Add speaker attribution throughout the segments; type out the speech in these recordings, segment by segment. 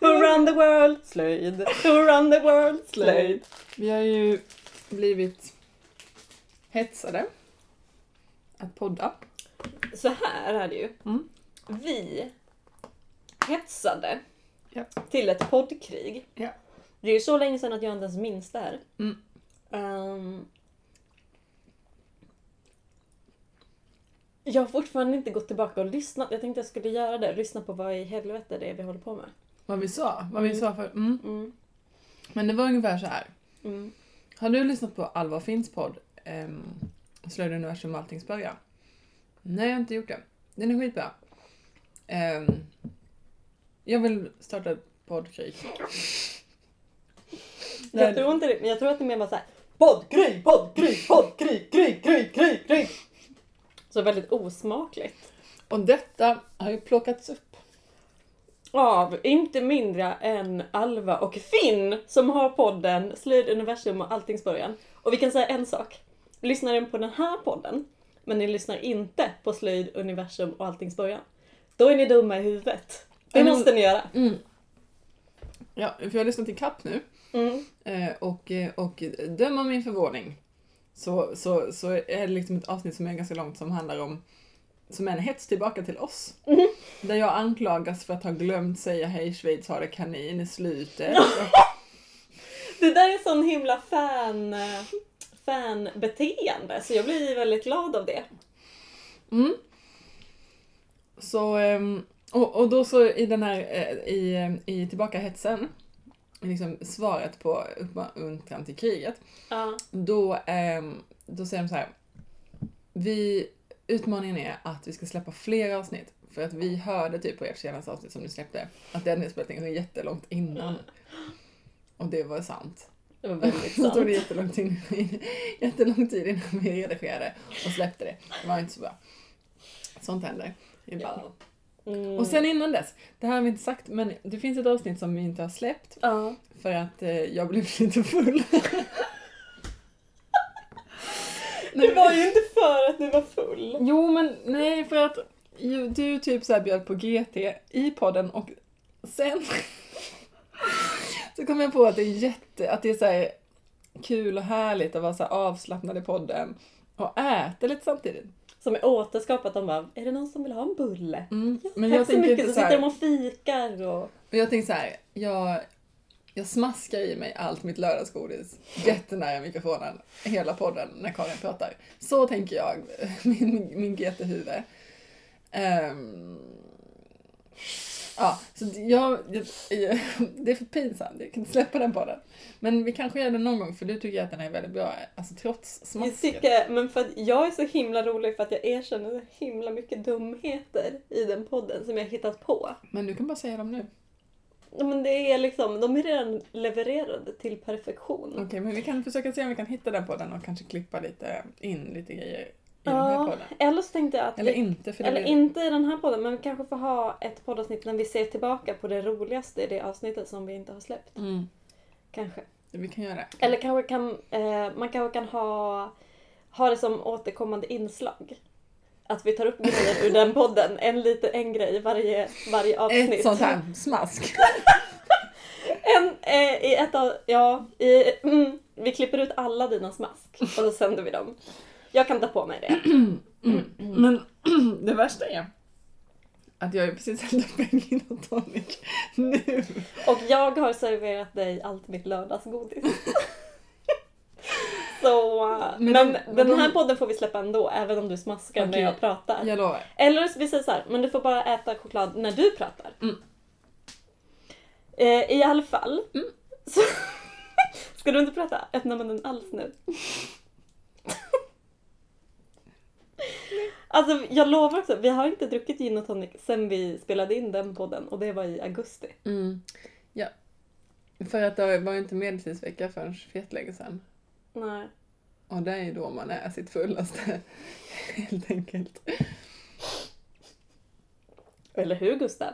Speaker 1: run the world, slöjd. Who run the world, slöjd.
Speaker 2: Vi har ju blivit hetsade att podda.
Speaker 3: Så här är det ju.
Speaker 2: Mm.
Speaker 3: Vi hetsade
Speaker 2: Ja.
Speaker 3: till ett poddkrig.
Speaker 2: Ja.
Speaker 3: Det är ju så länge sedan att jag inte ens minns det här.
Speaker 2: Mm.
Speaker 3: Ehm, jag har fortfarande inte gått tillbaka och lyssnat. Jag tänkte jag skulle göra det. Lyssna på vad i helvete det är vi håller på med.
Speaker 2: Vad vi sa. Vad vi
Speaker 3: Mm.
Speaker 2: sa för, mm.
Speaker 3: Mm.
Speaker 2: Men det var ungefär så här.
Speaker 3: Mm.
Speaker 2: Har du lyssnat på Alva och Finns podd ehm, Slöjd, universum och alltings början? Nej, jag har inte gjort det. Den är skitbra. Ehm, jag vill starta ett poddkrig.
Speaker 3: Jag,
Speaker 2: Nej.
Speaker 3: tror inte det, men jag tror att det är mer bara såhär Poddkrig, poddkrig, poddkrig, krig, krig, krig, krig. Så väldigt osmakligt.
Speaker 2: Och detta har ju plockats upp.
Speaker 3: Av inte mindre än Alva och Finn som har podden Slöjd, universum och alltings början. Och vi kan säga en sak. Lyssnar ni på den här podden men ni lyssnar inte på Slöjd, universum och alltings början. Då är ni dumma i huvudet. Det
Speaker 2: Mm.
Speaker 3: måste ni göra.
Speaker 2: Mm. Ja, för jag har lyssnat ikapp nu.
Speaker 3: Mm.
Speaker 2: Eh, och, eh, och döm om min förvåning. Så, så, så är det liksom ett avsnitt som är ganska långt som handlar om som är en hets tillbaka till oss. Där jag anklagas för att ha glömt säga hej Schweiz har det kanin i slutet.
Speaker 3: Det där är sån himla fan, fanbeteende så jag blir väldigt glad av det.
Speaker 2: Mm. Så, ehm, och, och då så i den här, eh, i, eh, i tillbakahetsen, liksom svaret på uppmuntran till kriget,
Speaker 3: Ja.
Speaker 2: då, ehm, då säger de så här. Vi, utmaningen är att vi ska släppa fler avsnitt. För att vi hörde typ på ert senaste avsnitt som ni släppte att den inspelningen var jättelångt innan. Och det var sant.
Speaker 3: Det var väldigt
Speaker 2: Så tog det
Speaker 3: sant.
Speaker 2: jättelång tid, jättelång tid innan vi redigerade och släppte det. Det var inte så bra. Sånt händer ibland.
Speaker 3: Ja. Mm.
Speaker 2: Och sen innan dess, det här har vi inte sagt men det finns ett avsnitt som vi inte har släppt
Speaker 3: Ja.
Speaker 2: för att eh, jag blev lite full. Nej,
Speaker 3: Det var ju inte för att du var full.
Speaker 2: Jo, men nej, för att ju, du typ så här bjöd på GT i podden och sen så kom jag på att det är jätte, att det är så här kul och härligt att vara så här avslappnad i podden och äta lite samtidigt.
Speaker 3: Som är återskapat. De bara, är det någon som vill ha en bulle?
Speaker 2: Mm. Men
Speaker 3: Tack
Speaker 2: jag
Speaker 3: så
Speaker 2: tänker
Speaker 3: mycket.
Speaker 2: inte
Speaker 3: Så
Speaker 2: så
Speaker 3: sitter de
Speaker 2: här,
Speaker 3: och fikar och...
Speaker 2: och jag tänker så här, jag, jag smaskar i mig allt mitt lördagsgodis jättenära mikrofonen hela podden när Karin pratar. Så tänker jag, min, min GT-huvud. Ehm, ja, så det- jag, jag, det är för pinsamt, jag kan inte släppa den podden. Men vi kanske gör den någon gång för du tycker att den är väldigt bra, alltså trots
Speaker 3: Jag
Speaker 2: smasket.
Speaker 3: tycker, men för att jag är så himla rolig för att jag erkänner så himla mycket dumheter i den podden som jag hittat på.
Speaker 2: Men du kan bara säga dem nu.
Speaker 3: Ja, Men det är liksom, de är redan levererade till perfektion.
Speaker 2: Okej, men vi kan försöka se om vi kan hitta den podden och kanske klippa lite, in lite grejer i den här
Speaker 3: Ja,
Speaker 2: podden.
Speaker 3: eller så tänkte jag att
Speaker 2: Eller
Speaker 3: vi-
Speaker 2: inte, för det
Speaker 3: Eller
Speaker 2: blir...
Speaker 3: inte i den här podden, men vi kanske får ha ett poddavsnitt när vi ser tillbaka på det roligaste i det avsnittet som vi inte har släppt.
Speaker 2: Mm.
Speaker 3: Kanske.
Speaker 2: Vi kan göra det.
Speaker 3: Eller kanske kan, eh, man kanske kan ha, ha det som återkommande inslag. Att vi tar upp grejer ur den podden, en liten en grej i varje, varje avsnitt.
Speaker 2: Ett sånt här smask.
Speaker 3: En, eh, i ett av, ja, i, mm, vi klipper ut alla dina smask och så sänder vi dem. Jag kan ta på mig det.
Speaker 2: Men det värsta är att jag har ju precis hällt upp en gin och tonic nu.
Speaker 3: Och jag har serverat dig allt mitt lördagsgodis. Så, eh, men,
Speaker 2: Men de-
Speaker 3: den
Speaker 2: men de-
Speaker 3: här podden får vi släppa ändå, även om du smaskar
Speaker 2: Okej.
Speaker 3: när jag pratar.
Speaker 2: Jag lovar.
Speaker 3: Eller så vi säger så här, men du får bara äta choklad när du pratar.
Speaker 2: Mm.
Speaker 3: Eh, I alla fall. Så, ska du inte prata? Öppna munnen alls nu. alltså jag lovar också, vi har inte druckit gin och tonic sen vi spelade in den podden och det var i augusti.
Speaker 2: Mm. Ja. För att det var ju inte medeltidsvecka förrän fetlänge sedan.
Speaker 3: Nej.
Speaker 2: Och det är ju då man är sitt fullaste. Helt enkelt.
Speaker 3: Eller hur Gustav?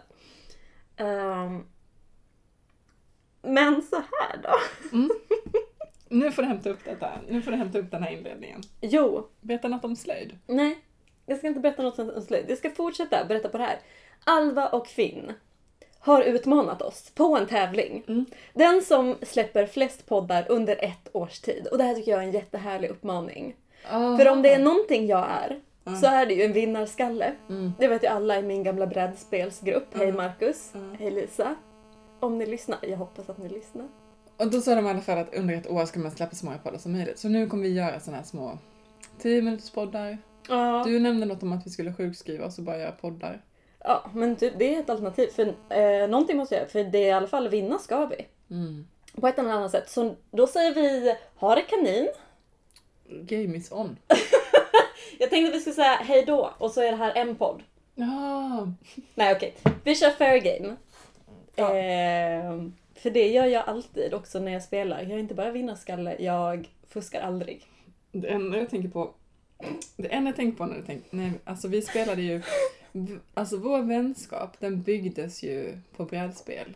Speaker 3: Ehm, men så här då.
Speaker 2: Mm. Nu får du hämta upp detta. Nu får du hämta upp den här inledningen.
Speaker 3: Jo,
Speaker 2: Berätta något om slöjd.
Speaker 3: Nej, jag ska inte berätta något om slöjd. Jag ska fortsätta berätta på det här. Alva och Finn har utmanat oss på en tävling.
Speaker 2: Mm.
Speaker 3: Den som släpper flest poddar under ett års tid. Och det här tycker jag är en jättehärlig uppmaning.
Speaker 2: Ah.
Speaker 3: För om det är någonting jag är så är det ju en vinnarskalle.
Speaker 2: Mm.
Speaker 3: Det vet ju alla i min gamla brädspelsgrupp. Hej Marcus,
Speaker 2: Mm.
Speaker 3: hej Lisa. Om ni lyssnar, jag hoppas att ni lyssnar.
Speaker 2: Och då sa de i alla fall att under ett år ska man släppa så många poddar som möjligt. Så nu kommer vi göra såna här små 10 minuters poddar.
Speaker 3: Ja.
Speaker 2: Du nämnde något om att vi skulle sjukskriva oss och bara göra poddar.
Speaker 3: Ja, men typ, det är ett alternativ. För eh, någonting måste jag göra, för det är i alla fall vinna ska vi.
Speaker 2: Mm.
Speaker 3: På ett eller annat sätt. Så då säger vi, ha det kanin.
Speaker 2: Game is on.
Speaker 3: Jag tänkte att vi skulle säga hej då och så är det här en podd.
Speaker 2: Ja,
Speaker 3: Nej okej, vi kör fair game.
Speaker 2: Ja.
Speaker 3: Ehm, för det gör jag alltid också när jag spelar. Jag är inte bara vinnarskalle, jag fuskar aldrig.
Speaker 2: det enda jag tänker på... Det enda jag tänker på när jag tänker... Nej, alltså vi spelade ju... Alltså vår vänskap, den byggdes ju på brädspel.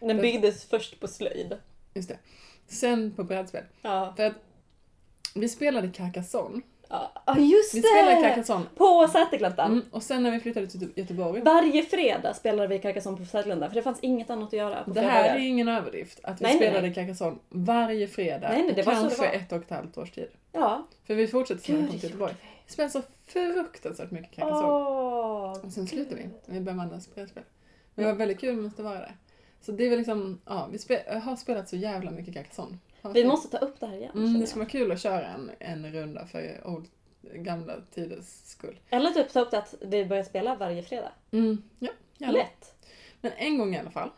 Speaker 3: Den byggdes först på slöjd.
Speaker 2: Just det. Sen på brädspel.
Speaker 3: Ja,
Speaker 2: För att vi spelade Carcassonne.
Speaker 3: ja. Ah, just
Speaker 2: Vi spelade
Speaker 3: det!
Speaker 2: Carcassonne.
Speaker 3: På Sätergläntan.
Speaker 2: Mm, och sen när vi flyttade till Göteborg.
Speaker 3: Varje fredag spelade vi Carcassonne på Sätergläntan för det fanns inget annat att göra på
Speaker 2: Det här är
Speaker 3: fredagar.
Speaker 2: ingen överdrift. Att vi
Speaker 3: Nej, nej,
Speaker 2: spelade
Speaker 3: nej.
Speaker 2: Carcassonne varje fredag.
Speaker 3: Nej, nej, det
Speaker 2: i
Speaker 3: var så det
Speaker 2: kanske
Speaker 3: var.
Speaker 2: ett och ett halvt års tid.
Speaker 3: Ja.
Speaker 2: För vi fortsatte sen när vi
Speaker 3: Gud,
Speaker 2: kom
Speaker 3: det
Speaker 2: till
Speaker 3: gjorde
Speaker 2: Göteborg.
Speaker 3: vi.
Speaker 2: Vi spelade så fruktansvärt mycket Carcassonne.
Speaker 3: Åh,
Speaker 2: Och sen slutade vi.
Speaker 3: gud.
Speaker 2: Vi började med andra spelspel. Men det var väldigt kul, måste vara det. Så det är väl liksom, ja, vi spe- jag har spelat så jävla mycket Carcassonne. Har
Speaker 3: Vi
Speaker 2: kul.
Speaker 3: måste ta upp det här igen.
Speaker 2: Mm,
Speaker 3: känner
Speaker 2: det
Speaker 3: jag.
Speaker 2: skulle vara kul att köra en, en runda för old, gamla tiders skull.
Speaker 3: Eller typ ta upp det att vi börjar spela varje fredag.
Speaker 2: Mm, ja, gärna.
Speaker 3: Lätt!
Speaker 2: Men en gång i alla fall.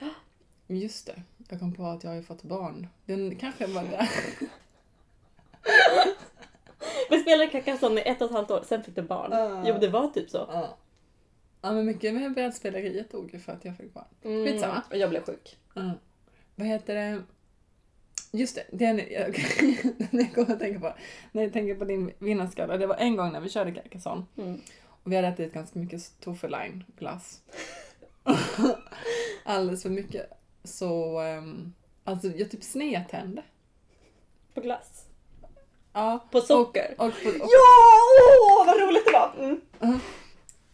Speaker 2: Just det, jag kom på att jag har ju fått barn. Den kanske var där.
Speaker 3: Vi spelade Carcassonne i ett och ett halvt år, sen fick du barn.
Speaker 2: Ah.
Speaker 3: Jo, det var typ så.
Speaker 2: Ja. Ja men mycket med brädspeleriet dog ju för att jag fick barn. Mm. Skitsamma.
Speaker 3: Och jag blev sjuk.
Speaker 2: Ja. Vad heter det? Just det, det är nu- jag, jag kommer att tänka på. När jag tänker på din vinnarskalle. Det var en gång när vi körde Carcassonne.
Speaker 3: Mm.
Speaker 2: Och vi hade ätit ganska mycket Toffeline glass. Alldeles för mycket. Så, ehm, alltså jag typ snedtände.
Speaker 3: På glass.
Speaker 2: Ja.
Speaker 3: På socker.
Speaker 2: Och, och, och,
Speaker 3: Ja! Åh, vad roligt det var! Mm.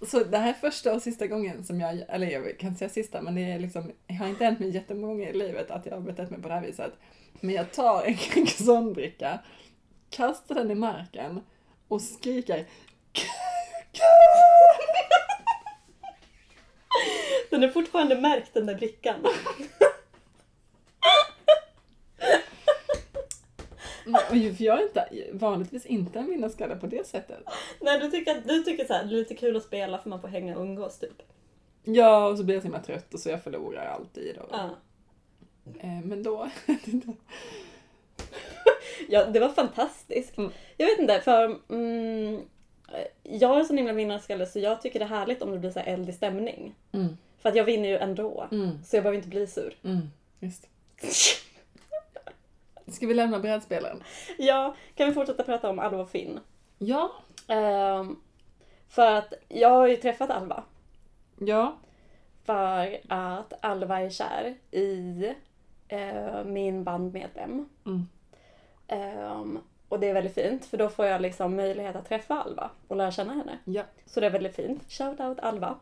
Speaker 2: Så det här är första och sista gången som jag, eller jag kan inte säga sista, men det är liksom, jag har inte hänt mig jättemånga gånger i livet att jag har betett mig på det här viset. Men jag tar en Carcassonne-bricka, kastar den i marken och skriker "Kuken!"
Speaker 3: Den är fortfarande märkt den där brickan.
Speaker 2: Och ju- För jag är inte, vanligtvis inte en vinnarskalle på det sättet.
Speaker 3: Nej, du tycker, du tycker så här, det är lite kul att spela för man får hänga och umgås typ.
Speaker 2: Ja, och så blir jag så himla trött och så jag förlorar alltid. Och,
Speaker 3: Ja.
Speaker 2: eh, men då...
Speaker 3: Ja, det var fantastiskt.
Speaker 2: Mm.
Speaker 3: Jag vet inte, för mm, jag är en sån himla vinnarskalle så jag tycker det är härligt om det blir så här eldig stämning.
Speaker 2: mm,
Speaker 3: För att jag vinner ju ändå.
Speaker 2: mm,
Speaker 3: Så jag behöver inte bli sur.
Speaker 2: mm, just. Ska vi lämna brädspelaren?
Speaker 3: ja, kan vi fortsätta prata om Alva och Finn?
Speaker 2: Ja.
Speaker 3: Ehm, för att jag har ju träffat Alva.
Speaker 2: Ja.
Speaker 3: För att Alva är kär i eh, min bandmedlem.
Speaker 2: Mm.
Speaker 3: Ehm, och det är väldigt fint för då får jag liksom möjlighet att träffa Alva och lära känna henne.
Speaker 2: Ja.
Speaker 3: Så det är väldigt fint. Shout out Alva.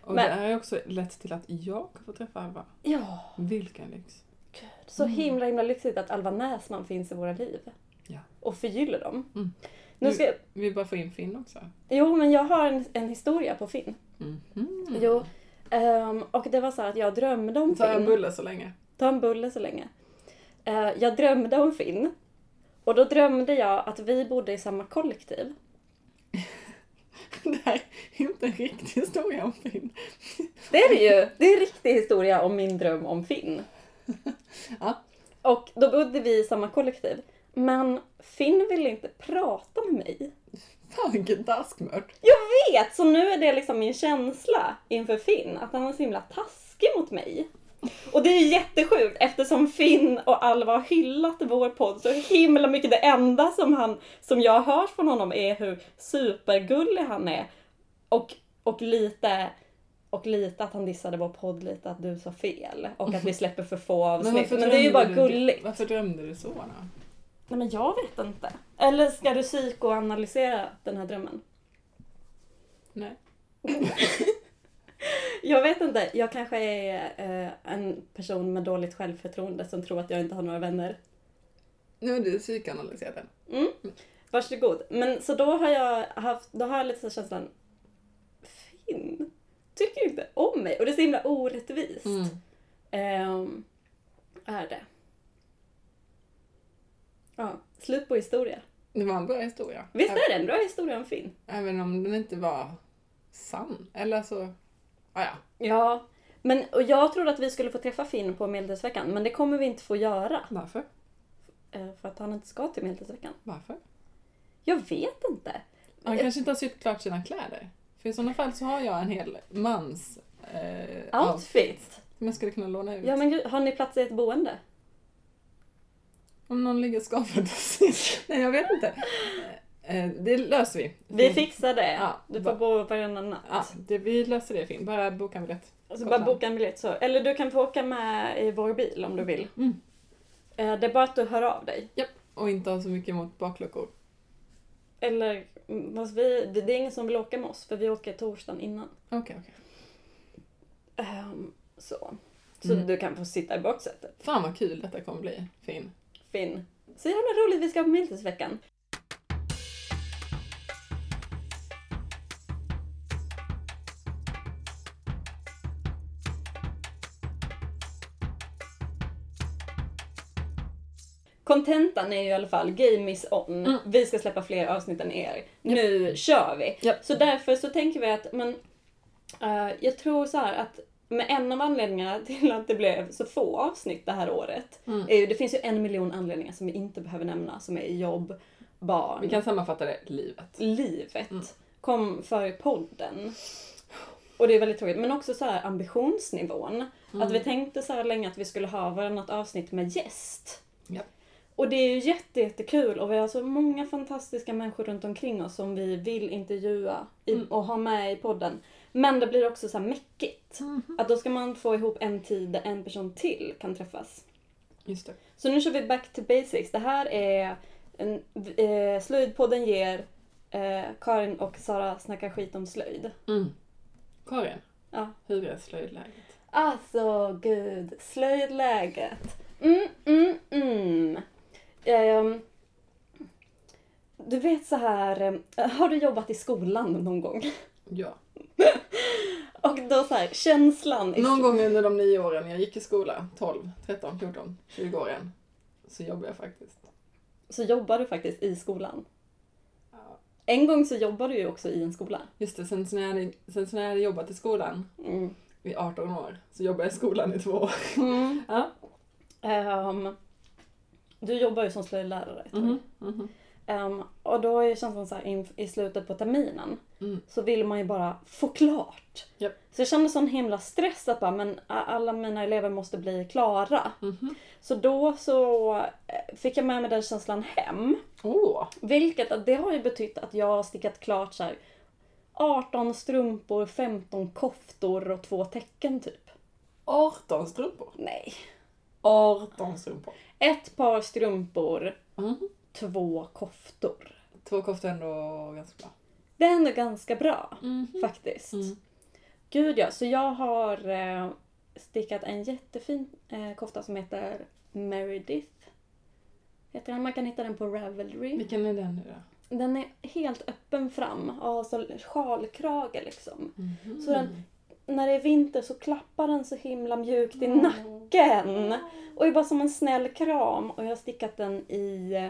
Speaker 2: Och
Speaker 3: Men-
Speaker 2: det här har också lett till att jag kan få träffa Alva.
Speaker 3: Ja,
Speaker 2: Vilken lyx.
Speaker 3: gud. Så
Speaker 2: Mm.
Speaker 3: himla himla lyxigt att Alva Näsman finns i våra liv.
Speaker 2: Ja.
Speaker 3: Och förgyller dem.
Speaker 2: Mm.
Speaker 3: Nu ska jag...
Speaker 2: Vi bara får in Finn också.
Speaker 3: Jo, men jag har en, en historia på Finn.
Speaker 2: Mhm.
Speaker 3: Jo. ehm, och det var så här att jag drömde om
Speaker 2: Tar jag en
Speaker 3: Finn.
Speaker 2: bulle så länge?
Speaker 3: Ta en bulle så länge. Eh, jag drömde om Finn. Och då drömde jag att vi bodde i samma kollektiv.
Speaker 2: Det här är inte en riktig historia om Finn.
Speaker 3: Det är det ju! Det är en riktig historia om min dröm om Finn.
Speaker 2: Ja.
Speaker 3: Och då bodde vi i samma kollektiv. Men Finn ville inte prata med mig.
Speaker 2: Fan vilken taskmört.
Speaker 3: Jag vet! Så nu är det liksom min känsla inför Finn, att han är så himla taskig mot mig. Och det är ju jättesjukt eftersom Finn och Alva har hyllat vår podd så himla mycket. Det enda som, han, som jag har hört från honom är hur supergullig han är. Och, och, lite, och lite att han dissade vår podd lite, att du sa fel. Och att vi släpper för få avsnitt. Mm-hmm. Men, det är ju bara
Speaker 2: drömde du-
Speaker 3: gulligt.
Speaker 2: Varför drömde du så då?
Speaker 3: Nej men jag vet inte. Eller ska du psykoanalysera den här drömmen?
Speaker 2: Nej.
Speaker 3: Jag vet inte, jag kanske är eh, en person med dåligt självförtroende som tror att jag inte har några vänner.
Speaker 2: Nu är du psykanalyserad.
Speaker 3: Mm. Varsågod. Men så då har jag haft, då har jag lite så här känslan, Finn tycker inte om mig och det är så himla orättvist.
Speaker 2: Mm.
Speaker 3: Ehm, är det. Ja, slut på historia.
Speaker 2: Det var en bra historia.
Speaker 3: Visst
Speaker 2: Ä-
Speaker 3: är det en bra historia om Finn?
Speaker 2: Även om den inte var sann. Eller så... Ah, ja.
Speaker 3: Ja. Men, och jag trodde att vi skulle få träffa Finn på Medeltidsveckan, men det kommer vi inte få göra.
Speaker 2: Varför?
Speaker 3: eh, För att han inte ska till Medeltidsveckan.
Speaker 2: Varför?
Speaker 3: Jag vet inte.
Speaker 2: Han kanske inte har sytt klart sina kläder. För i sådana fall så har jag en hel mans eh, outfit
Speaker 3: Outfit.
Speaker 2: som jag skulle kunna låna ut.
Speaker 3: Ja men gud, har ni plats i ett boende?
Speaker 2: Om någon ligger skavfödd Nej, jag vet inte. Eh, det löser vi.
Speaker 3: Vi fixar det.
Speaker 2: Mm. Ja,
Speaker 3: du får
Speaker 2: va-
Speaker 3: bo varannan natt.
Speaker 2: Ja, det, vi löser det Finn. Bara boka en biljett.
Speaker 3: Och så bara boka en biljett så. Eller du kan få åka med i vår bil om du vill.
Speaker 2: Mm.
Speaker 3: Eh, Det är bara att du hör av dig.
Speaker 2: Och inte ha så mycket mot bakluckor.
Speaker 3: Eller, mm, fast vi, det det är ingen som vill åka med oss för vi åker torsdagen innan.
Speaker 2: Okej, okej.
Speaker 3: Ehm, så. Så
Speaker 2: Mm.
Speaker 3: du kan få sitta i baksätet.
Speaker 2: Fan vad kul detta kommer bli, Finn.
Speaker 3: Finn. Så jävla roligt vi ska på Medeltidsveckan. Kontentan är ju i alla fall game is on.
Speaker 2: Mm.
Speaker 3: Vi ska släppa fler avsnitt än er. Nu kör vi!
Speaker 2: Japp.
Speaker 3: Så därför så tänker vi att, men eh, jag tror så här att med en av anledningarna till att det blev så få avsnitt det här året
Speaker 2: Mm.
Speaker 3: är ju, det finns ju en miljon anledningar som vi inte behöver nämna som är jobb, barn,
Speaker 2: Vi kan sammanfatta det, livet.
Speaker 3: livet.
Speaker 2: Mm.
Speaker 3: Kom för podden. Och det är väldigt tråkigt. Men också så här ambitionsnivån. Att
Speaker 2: Mm.
Speaker 3: vi tänkte så här länge att vi skulle ha varannat avsnitt med gäst.
Speaker 2: Ja.
Speaker 3: Och det är ju jätte, jättekul och vi har så många fantastiska människor runt omkring oss som vi vill intervjua i,
Speaker 2: Mm.
Speaker 3: och ha med i podden. Men det blir också så här mäckigt.
Speaker 2: Mhm.
Speaker 3: Att då ska man få ihop en tid där en person till kan träffas.
Speaker 2: Just det.
Speaker 3: Så nu kör vi back to basics. Det här är en, eh, Slöjdpodden ger eh, Karin och Sara snackar skit om slöjd.
Speaker 2: Mm. Karin,
Speaker 3: Ja.
Speaker 2: hur är slöjdläget?
Speaker 3: Alltså gud, slöjdläget. Mm, mm, mm. Ehm, du vet så här, eh, har du jobbat i skolan någon gång?
Speaker 2: Ja.
Speaker 3: Och då så här, känslan i
Speaker 2: Någon gång under de nio åren jag gick i skola, 12, 13, 14, 20 åren, så jobbade jag faktiskt.
Speaker 3: så jobbar du faktiskt i skolan.
Speaker 2: Ja.
Speaker 3: En gång så jobbar du ju också i en skola.
Speaker 2: Just det, sen så när jag hade, sen så när jag hade jobbat i skolan
Speaker 3: Mm.
Speaker 2: i 18 år, så jobbade jag i skolan i två år. Ja.
Speaker 3: Ehm, du jobbar ju som slöjdlärare ett tag.
Speaker 2: Mm. Mhm,
Speaker 3: Ehm, och då är känslan så här in, i slutet på terminen
Speaker 2: Mm.
Speaker 3: så vill man ju bara få klart.
Speaker 2: Japp.
Speaker 3: Så jag kände sån himla stress att bara, men a- alla mina elever måste bli klara.
Speaker 2: Mhm.
Speaker 3: Så då så eh, fick jag med mig den känslan hem.
Speaker 2: Åh!
Speaker 3: Vilket att det har ju betytt att jag har stickat klart så här 18 strumpor, 15 koftor och två tecken typ.
Speaker 2: 18 strumpor.
Speaker 3: Nej.
Speaker 2: 18 strumpor.
Speaker 3: Ett par strumpor,
Speaker 2: Mhm.
Speaker 3: två koftor.
Speaker 2: Två koftor är ändå ganska bra.
Speaker 3: Det är ändå ganska bra
Speaker 2: Mhm.
Speaker 3: faktiskt.
Speaker 2: Mm.
Speaker 3: Gud ja, så jag har eh, stickat en jättefin eh, kofta som heter Meredith. Heter den. Man kan hitta den på Ravelry.
Speaker 2: Vilken är den nu då?
Speaker 3: Den är helt öppen fram, alltså sjalkrage liksom.
Speaker 2: Mhm.
Speaker 3: Så den, när det är vinter så klappar den så himla mjukt
Speaker 2: Mm.
Speaker 3: i nacken. Och är bara som en snäll kram. Och jag har stickat den i eh,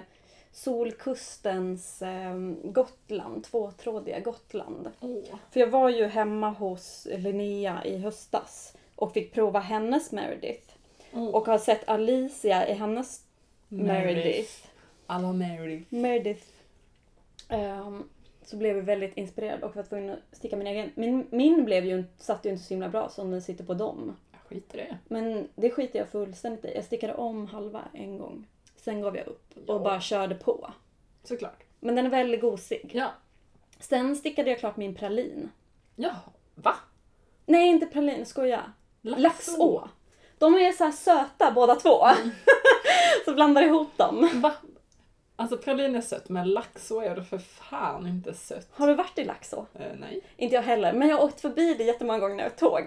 Speaker 3: Solkustens eh, Gotland, tvåtrådiga Gotland.
Speaker 2: Åh.
Speaker 3: För jag var ju hemma hos Linnea i höstas och fick prova hennes Meredith.
Speaker 2: Åh.
Speaker 3: Och har sett Alicia i hennes Meredith.
Speaker 2: Alla Meredith.
Speaker 3: Meredith. Ehm, så blev jag väldigt inspirerad och var tvungen att sticka min egen. Min, min blev ju, satt ju inte så himla bra som den sitter på dem.
Speaker 2: Jag skiter i det.
Speaker 3: Men det skiter jag fullständigt i. Jag stickade om halva en gång. Sen gav jag upp och
Speaker 2: Ja.
Speaker 3: bara körde på.
Speaker 2: Såklart.
Speaker 3: Men den är väldigt gosig.
Speaker 2: Ja.
Speaker 3: Sen stickade jag klart min pralin.
Speaker 2: Ja. Va?
Speaker 3: Nej, inte pralin, skoja.
Speaker 2: Laxå.
Speaker 3: Laxå. De är så här söta båda två. så blandar ihop dem.
Speaker 2: Va? Alltså pralin är sött, men Laxå är det för fan inte sött.
Speaker 3: Har du varit i Laxå?
Speaker 2: Eh, nej.
Speaker 3: Inte jag heller, men jag har åkt förbi det jättemånga gånger när jag åkt tåg.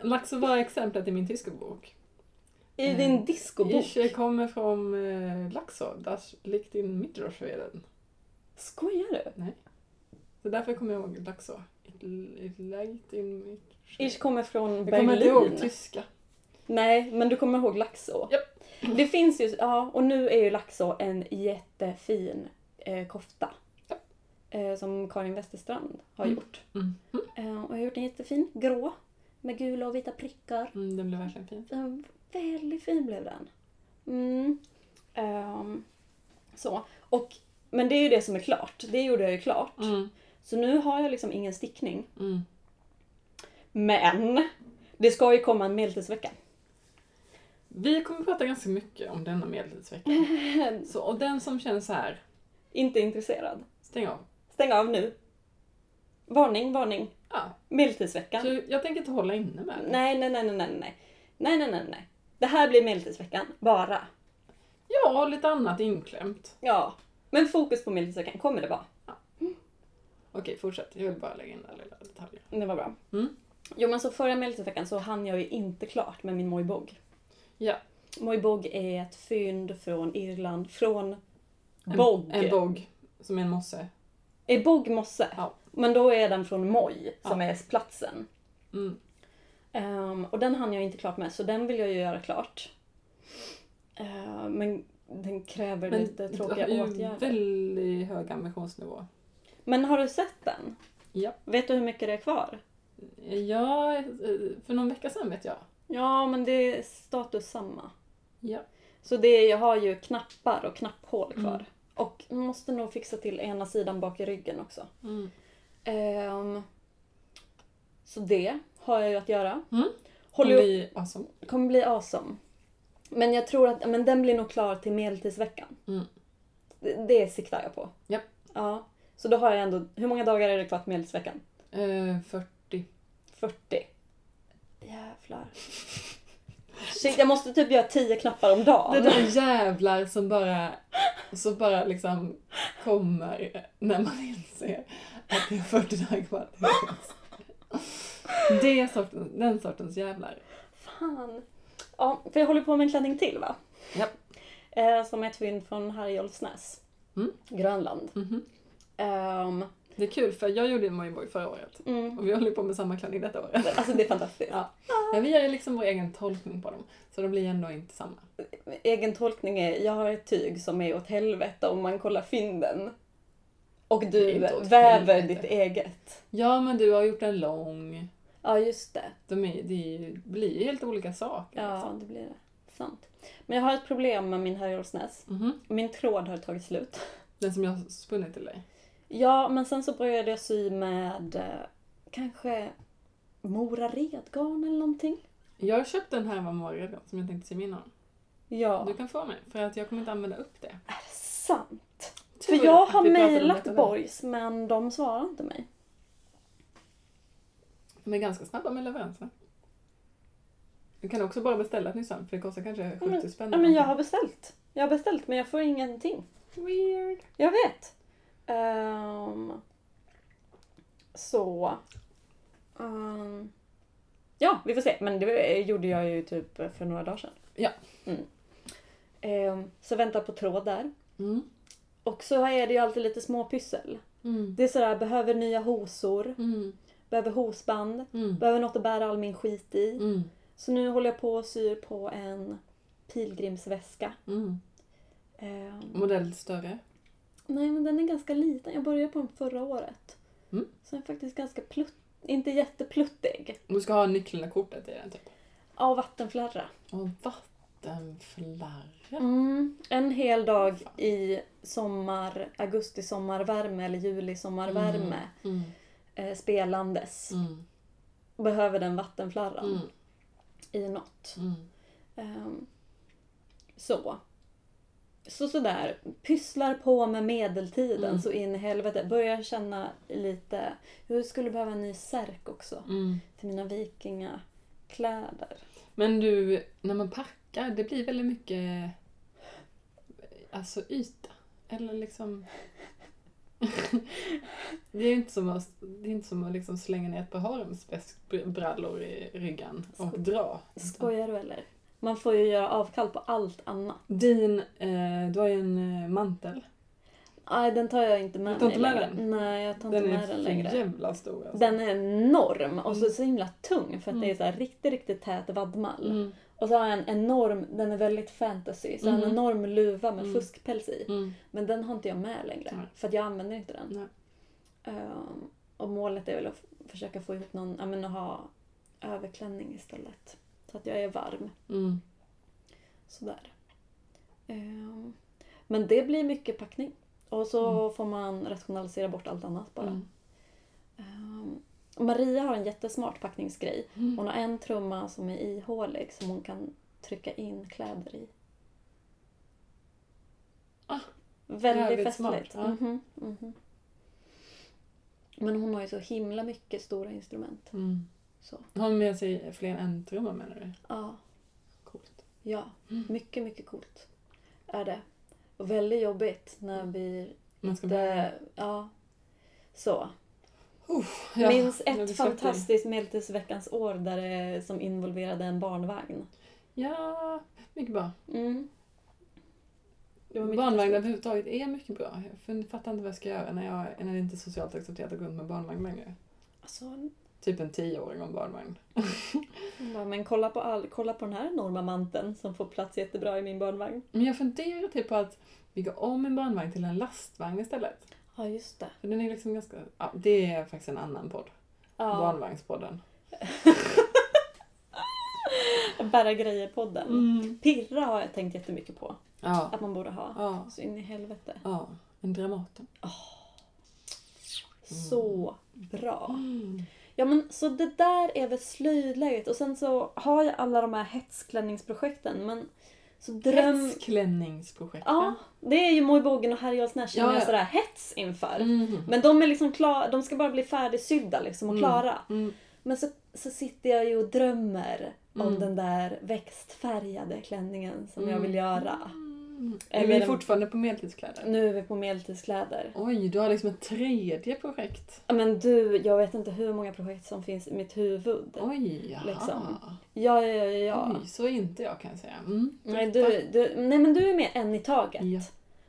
Speaker 2: Laxå var exemplet i min tyska bok.
Speaker 3: I
Speaker 2: Mm.
Speaker 3: din discobok.
Speaker 2: Ich kommer från eh, Laxå, das liegt in Mittelschweden.
Speaker 3: Skojar du?
Speaker 2: Så därför kommer jag ihåg Laxå. It, it liegt in Mittelschweden.
Speaker 3: Ish kommer från
Speaker 2: Jag kommer inte ihåg
Speaker 3: Berlin.
Speaker 2: tyska.
Speaker 3: Nej, men du kommer ihåg Laxå.
Speaker 2: Japp.
Speaker 3: Det finns ju, ja, och nu är ju Laxå en jättefin eh, kofta.
Speaker 2: Japp.
Speaker 3: Eh, som Karin Westerstrand har
Speaker 2: Mm.
Speaker 3: gjort.
Speaker 2: Mm.
Speaker 3: Eh, och jag har gjort en jättefin grå med gula och vita prickar.
Speaker 2: Mm, den blev verkligen fin.
Speaker 3: Den var väldigt fin blev den. Mm. Ehm, så. Och, men det är ju det som är klart. Det gjorde jag ju klart.
Speaker 2: Mm.
Speaker 3: Så nu har jag liksom ingen stickning.
Speaker 2: Mm.
Speaker 3: Men! Det ska ju komma en medeltidsvecka.
Speaker 2: Vi kommer prata ganska mycket om denna medeltidsvecka. Så, och den som känner så här,
Speaker 3: Inte intresserad.
Speaker 2: stäng av.
Speaker 3: Stäng av nu. Varning, varning.
Speaker 2: Ja. Så
Speaker 3: Medeltidsveckan.
Speaker 2: jag tänker inte hålla inne med det.
Speaker 3: Nej, nej, nej, nej, nej, nej. Nej, nej, nej, nej. Det här blir medeltidsveckan. Bara.
Speaker 2: Ja, och lite annat inklämt.
Speaker 3: Ja. Men fokus på medeltidsveckan kommer det vara.
Speaker 2: Okej, fortsätt. Jag vill bara lägga in den här lilla detaljen.
Speaker 3: Det var bra.
Speaker 2: Mm.
Speaker 3: Jo men så förra medeltidsveckan så hann jag ju inte klart med min mojbog.
Speaker 2: Ja.
Speaker 3: Mojbog är ett fynd från Irland, från
Speaker 2: En-
Speaker 3: bogg.
Speaker 2: En bogg, som är en mosse.
Speaker 3: Är bogg mosse?
Speaker 2: Ja.
Speaker 3: Men då är den från moj, som
Speaker 2: Ja.
Speaker 3: är platsen.
Speaker 2: Mm.
Speaker 3: Ehm, och den hann jag inte klart med, så den vill jag ju göra klart. Ehm, men den kräver
Speaker 2: Men
Speaker 3: lite
Speaker 2: du har
Speaker 3: tråkiga
Speaker 2: ju
Speaker 3: åtgärder.
Speaker 2: väldigt hög ambitionsnivå.
Speaker 3: Men har du sett den?
Speaker 2: Ja.
Speaker 3: Vet du hur mycket det är kvar?
Speaker 2: Ja, eh, för någon vecka sedan vet jag.
Speaker 3: Ja, men det är status samma.
Speaker 2: Ja.
Speaker 3: Så det, är- jag har ju knappar och knapphål kvar.
Speaker 2: Mm.
Speaker 3: Och måste nog fixa till ena sidan bak i ryggen också.
Speaker 2: Mm.
Speaker 3: Ehm, så det har jag ju att göra.
Speaker 2: Mm.
Speaker 3: Håller
Speaker 2: Om
Speaker 3: upp,
Speaker 2: vi, alltså,
Speaker 3: kommer bli awesome. Men jag tror att men den blir nog klar till medeltidsveckan.
Speaker 2: Mm.
Speaker 3: Det, det siktar jag på.
Speaker 2: Japp.
Speaker 3: Ja. Så då har jag ändå, hur många dagar är det kvar till medeltidsveckan?
Speaker 2: eh, 40.
Speaker 3: 40. Jävlar. Shit, jag måste typ göra 10 knappar om dagen.
Speaker 2: Det där jävlar som bara, som bara liksom kommer när man inser att det är 40 dagar kvar till jul. det är sorten, Den sortens jävlar.
Speaker 3: Fan. Ja, för jag håller på med en klänning till va?
Speaker 2: Japp.
Speaker 3: Eh, som är ett fynd från Harjolfsnäs.
Speaker 2: Mm.
Speaker 3: Grönland.
Speaker 2: Mhm.
Speaker 3: Ehm,
Speaker 2: Det är kul för jag gjorde en mojboy förra året
Speaker 3: mm.
Speaker 2: och vi håller på med samma klänning detta året.
Speaker 3: Alltså det är fantastiskt. Ah.
Speaker 2: Ja. Men vi gör ju liksom vår egen tolkning på dem så de blir ändå inte samma.
Speaker 3: Egen tolkning är, jag har ett tyg som är åt helvete om man kollar fynden. Och
Speaker 2: Det är
Speaker 3: du
Speaker 2: inte åt
Speaker 3: väver
Speaker 2: helvete.
Speaker 3: ditt eget.
Speaker 2: Ja men du har gjort en lång.
Speaker 3: Ja, just det.
Speaker 2: De är, det är ju- blir ju helt olika saker. liksom.
Speaker 3: Ja, det blir det. Sant. Men jag har ett problem med min Harjolfsnäs.
Speaker 2: Mhm.
Speaker 3: Min tråd har tagit slut.
Speaker 2: Den som jag har spunnit till dig.
Speaker 3: Ja, men sen så började jag sy med eh, kanske Mora Redgarn eller någonting. Jag...
Speaker 2: Jag köpte en härva morgon som jag tänkte se min om.
Speaker 3: Ja.
Speaker 2: Du kan få mig, för att jag kommer inte använda upp det.
Speaker 3: Är det sant?
Speaker 2: Tur
Speaker 3: För jag
Speaker 2: att
Speaker 3: har
Speaker 2: vi pratade om detta
Speaker 3: mejlat
Speaker 2: nu.
Speaker 3: Borgs men de svarar inte mig.
Speaker 2: De är ganska snabba med leveranserna. Du kan också bara beställa ett nytt samtal, för det kostar kanske 70 spänn.
Speaker 3: Ja, men jag har beställt. Jag har beställt men jag får ingenting.
Speaker 2: Weird.
Speaker 3: Jag vet. Ehm, så. Ehm, ja, vi får se. Men det gjorde jag ju typ för några dagar sedan.
Speaker 2: Ja.
Speaker 3: Mm. Ehm, så vänta på tråd där.
Speaker 2: Mm.
Speaker 3: Och så är det ju alltid lite små pyssel.
Speaker 2: Mm.
Speaker 3: Det är sådär, behöver nya hosor,
Speaker 2: Mm.
Speaker 3: behöver hosband,
Speaker 2: Mm.
Speaker 3: behöver något att bära all min skit i.
Speaker 2: Mm.
Speaker 3: Så nu håller jag på och syr på en pilgrimsväska.
Speaker 2: Mm.
Speaker 3: Ehm,
Speaker 2: Modell större.
Speaker 3: nej men den är ganska liten, jag började på den förra året.
Speaker 2: Mm.
Speaker 3: Så den är faktiskt ganska plutt, inte jättepluttig.
Speaker 2: Du ska ha nycklarna kortet i den typ.
Speaker 3: Av vattenflarra.
Speaker 2: Och vattenflarra.
Speaker 3: Mm. En hel dag i sommar, augusti sommarvärme eller juli sommarvärme
Speaker 2: Mm.
Speaker 3: eh, spelandes.
Speaker 2: Mm.
Speaker 3: Behöver den vattenflarran
Speaker 2: Mm.
Speaker 3: i något.
Speaker 2: Mm.
Speaker 3: Ehm, så. Så sådär, pysslar på med medeltiden
Speaker 2: Mm.
Speaker 3: så in i helvete. Börjar känna lite, jag skulle behöva en ny särk också
Speaker 2: Mm.
Speaker 3: till mina vikingakläder.
Speaker 2: Men du, när man packar, det blir väldigt mycket alltså yta. Eller liksom... det är ju inte som att, det är inte som att liksom slänga ner ett par haremsbrallor i ryggan och
Speaker 3: Skoj.
Speaker 2: dra.
Speaker 3: Skojar du eller? Man får ju göra avkall på allt annat.
Speaker 2: Din, eh, du har ju en eh, mantel.
Speaker 3: Nej, den tar jag inte med
Speaker 2: Du tar inte
Speaker 3: mig
Speaker 2: med
Speaker 3: längre. Nej, jag tar
Speaker 2: Den
Speaker 3: inte
Speaker 2: är
Speaker 3: med den längre.
Speaker 2: för jävla stor alltså.
Speaker 3: Den är enorm och så, så himla tung för att det är
Speaker 2: Mm.
Speaker 3: så här riktigt, riktigt tät vaddmall.
Speaker 2: Mm.
Speaker 3: Och så har jag en enorm, den är väldigt fantasy, så jag har en
Speaker 2: Mhm.
Speaker 3: enorm luva med
Speaker 2: Mm.
Speaker 3: fuskpäls i.
Speaker 2: Mm.
Speaker 3: Men den har inte jag med längre
Speaker 2: Nej.
Speaker 3: för att jag använder inte den.
Speaker 2: Nej.
Speaker 3: Ehm, och målet är väl att f- försöka få ihop någon, ja men att ha överklänning istället. Så att jag är varm.
Speaker 2: Mm.
Speaker 3: Sådär. Ehm, men det blir mycket packning. Och så får man rationalisera bort allt annat bara.
Speaker 2: Mm.
Speaker 3: Ehm, Maria har en jättesmart packningsgrej.
Speaker 2: Mm.
Speaker 3: Hon har en trumma som är ihålig som hon kan trycka in kläder i.
Speaker 2: Ah,
Speaker 3: Väldigt
Speaker 2: jävligt smart,
Speaker 3: festligt.
Speaker 2: ja.
Speaker 3: Mhm, mhm. Men hon har ju så himla mycket stora instrument.
Speaker 2: Mm.
Speaker 3: Så.
Speaker 2: Har hon med sig fler än en trumma menar du?
Speaker 3: Ja,
Speaker 2: Coolt.
Speaker 3: ja.
Speaker 2: Mm.
Speaker 3: mycket, mycket coolt är det. Och väldigt jobbigt när
Speaker 2: Mm.
Speaker 3: vi
Speaker 2: Man ska
Speaker 3: det, ja. Så.
Speaker 2: Ja,
Speaker 3: Minns
Speaker 2: jag blir
Speaker 3: ett
Speaker 2: svettig.
Speaker 3: fantastiskt Medeltidsveckans år där det, som involverade en barnvagn.
Speaker 2: Ja, mycket bra.
Speaker 3: Mm. Det var mycket
Speaker 2: Barnvagn
Speaker 3: roligt.
Speaker 2: överhuvudtaget är mycket bra. Jag fun- fattar inte vad jag ska göra när, jag, när det inte är socialt accepterat att gå runt med barnvagn längre.
Speaker 3: Alltså,
Speaker 2: Typ en tioåring och en barnvagn.
Speaker 3: hon bara, men kolla på, all, kolla på den här enorma manteln som får plats jättebra i min barnvagn.
Speaker 2: Men jag funderar typ på att bygga om en barnvagn till en lastvagn istället.
Speaker 3: Ja, just det.
Speaker 2: För den är liksom ganska... Ja, det är faktiskt en annan podd.
Speaker 3: Ja,
Speaker 2: Barnvagnspodden.
Speaker 3: Bära grejer-podden.
Speaker 2: Mm.
Speaker 3: Pirra har jag tänkt jättemycket på
Speaker 2: Ja,
Speaker 3: att man borde ha.
Speaker 2: ja,
Speaker 3: Så in i helvete.
Speaker 2: ja. En Dramaten.
Speaker 3: Mm. Så bra. Ja men så det där är väl slöjdläget och sen så har jag alla de här hetsklänningsprojekten men så dröm...
Speaker 2: Hetsklänningsprojekten.
Speaker 3: Ja, det är ju Mojbogen och Herjolfsnäs som
Speaker 2: Ja,
Speaker 3: jag
Speaker 2: ja.
Speaker 3: sådär hets inför.
Speaker 2: Mm.
Speaker 3: Men de är liksom klara, de ska bara bli färdigsydda liksom och
Speaker 2: Mm.
Speaker 3: klara.
Speaker 2: Mm.
Speaker 3: Men så, så sitter jag ju och drömmer om
Speaker 2: Mm.
Speaker 3: den där växtfärgade klänningen som jag vill
Speaker 2: Mm.
Speaker 3: göra.
Speaker 2: Mm. Är
Speaker 3: Eller
Speaker 2: vi
Speaker 3: en-
Speaker 2: fortfarande på medeltidskläder?
Speaker 3: Nu är vi på medeltidskläder.
Speaker 2: Oj, du har liksom ett tredje projekt.
Speaker 3: Ja, Men du, jag vet inte hur många projekt som finns i mitt huvud.
Speaker 2: Oj, jaha.
Speaker 3: Liksom. Ja, ja, ja, ja.
Speaker 2: Oj, så är inte jag kan jag säga. Mm.
Speaker 3: Nej, du, du, nej men du är med en i taget.
Speaker 2: Ja.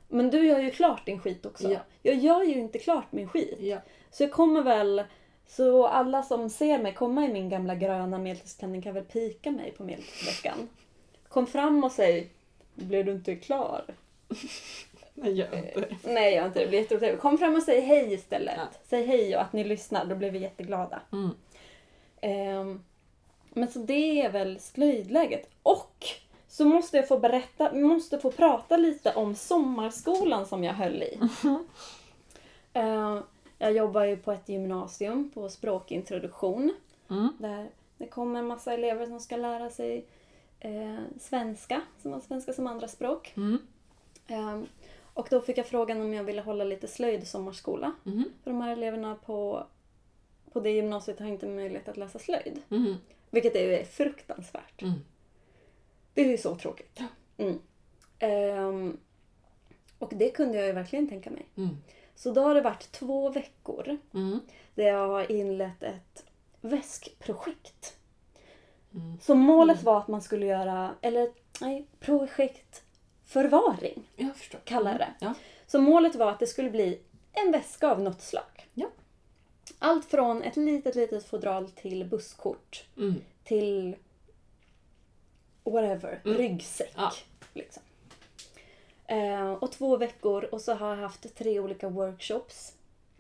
Speaker 3: Men du gör ju klart din skit också.
Speaker 2: Ja.
Speaker 3: Jag gör ju inte klart min skit.
Speaker 2: Ja.
Speaker 3: Så jag kommer väl... Så alla som ser mig komma i min gamla gröna medeltidsklänning kan väl pika mig på medeltidsveckan. Kom fram och säg Blev du inte klar?
Speaker 2: Nej, gör inte.
Speaker 3: Nej, jag har inte det. Det blir jätteroligt. Kom fram och säg hej istället.
Speaker 2: Ja.
Speaker 3: Säg hej och att ni lyssnar. Då blir vi jätteglada.
Speaker 2: Mm.
Speaker 3: Ehm, men så det är väl slöjdläget. Och så måste jag få berätta, måste få prata lite om sommarskolan som jag höll i. Ehm, jag jobbar ju på ett gymnasium på språkintroduktion.
Speaker 2: Mm.
Speaker 3: Där det kommer en massa elever som ska lära sig eh, svenska, som har svenska som andraspråk.
Speaker 2: Mm.
Speaker 3: Ehm, och då fick jag frågan om jag ville hålla lite slöjd sommarskola.
Speaker 2: Mm.
Speaker 3: För de här eleverna på, på det gymnasiet har inte möjlighet att läsa slöjd.
Speaker 2: Mm.
Speaker 3: Vilket är ju fruktansvärt.
Speaker 2: Mm.
Speaker 3: Det är ju så tråkigt. Mm. Ehm, och det kunde jag ju verkligen tänka mig.
Speaker 2: Mm.
Speaker 3: Så då har det varit två veckor
Speaker 2: Mm.
Speaker 3: där jag har inlett ett väskprojekt.
Speaker 2: Mm.
Speaker 3: Så målet var att man skulle göra, eller nej, projekt förvaring
Speaker 2: Jag förstår. Mm.
Speaker 3: kallar jag det.
Speaker 2: Ja.
Speaker 3: Så målet var att det skulle bli en väska av något slag.
Speaker 2: Ja.
Speaker 3: Allt från ett litet, litet fodral till busskort.
Speaker 2: Mm.
Speaker 3: till whatever,
Speaker 2: Mm.
Speaker 3: ryggsäck.
Speaker 2: Ja.
Speaker 3: Liksom. Eh, och två veckor och så har jag haft tre olika workshops.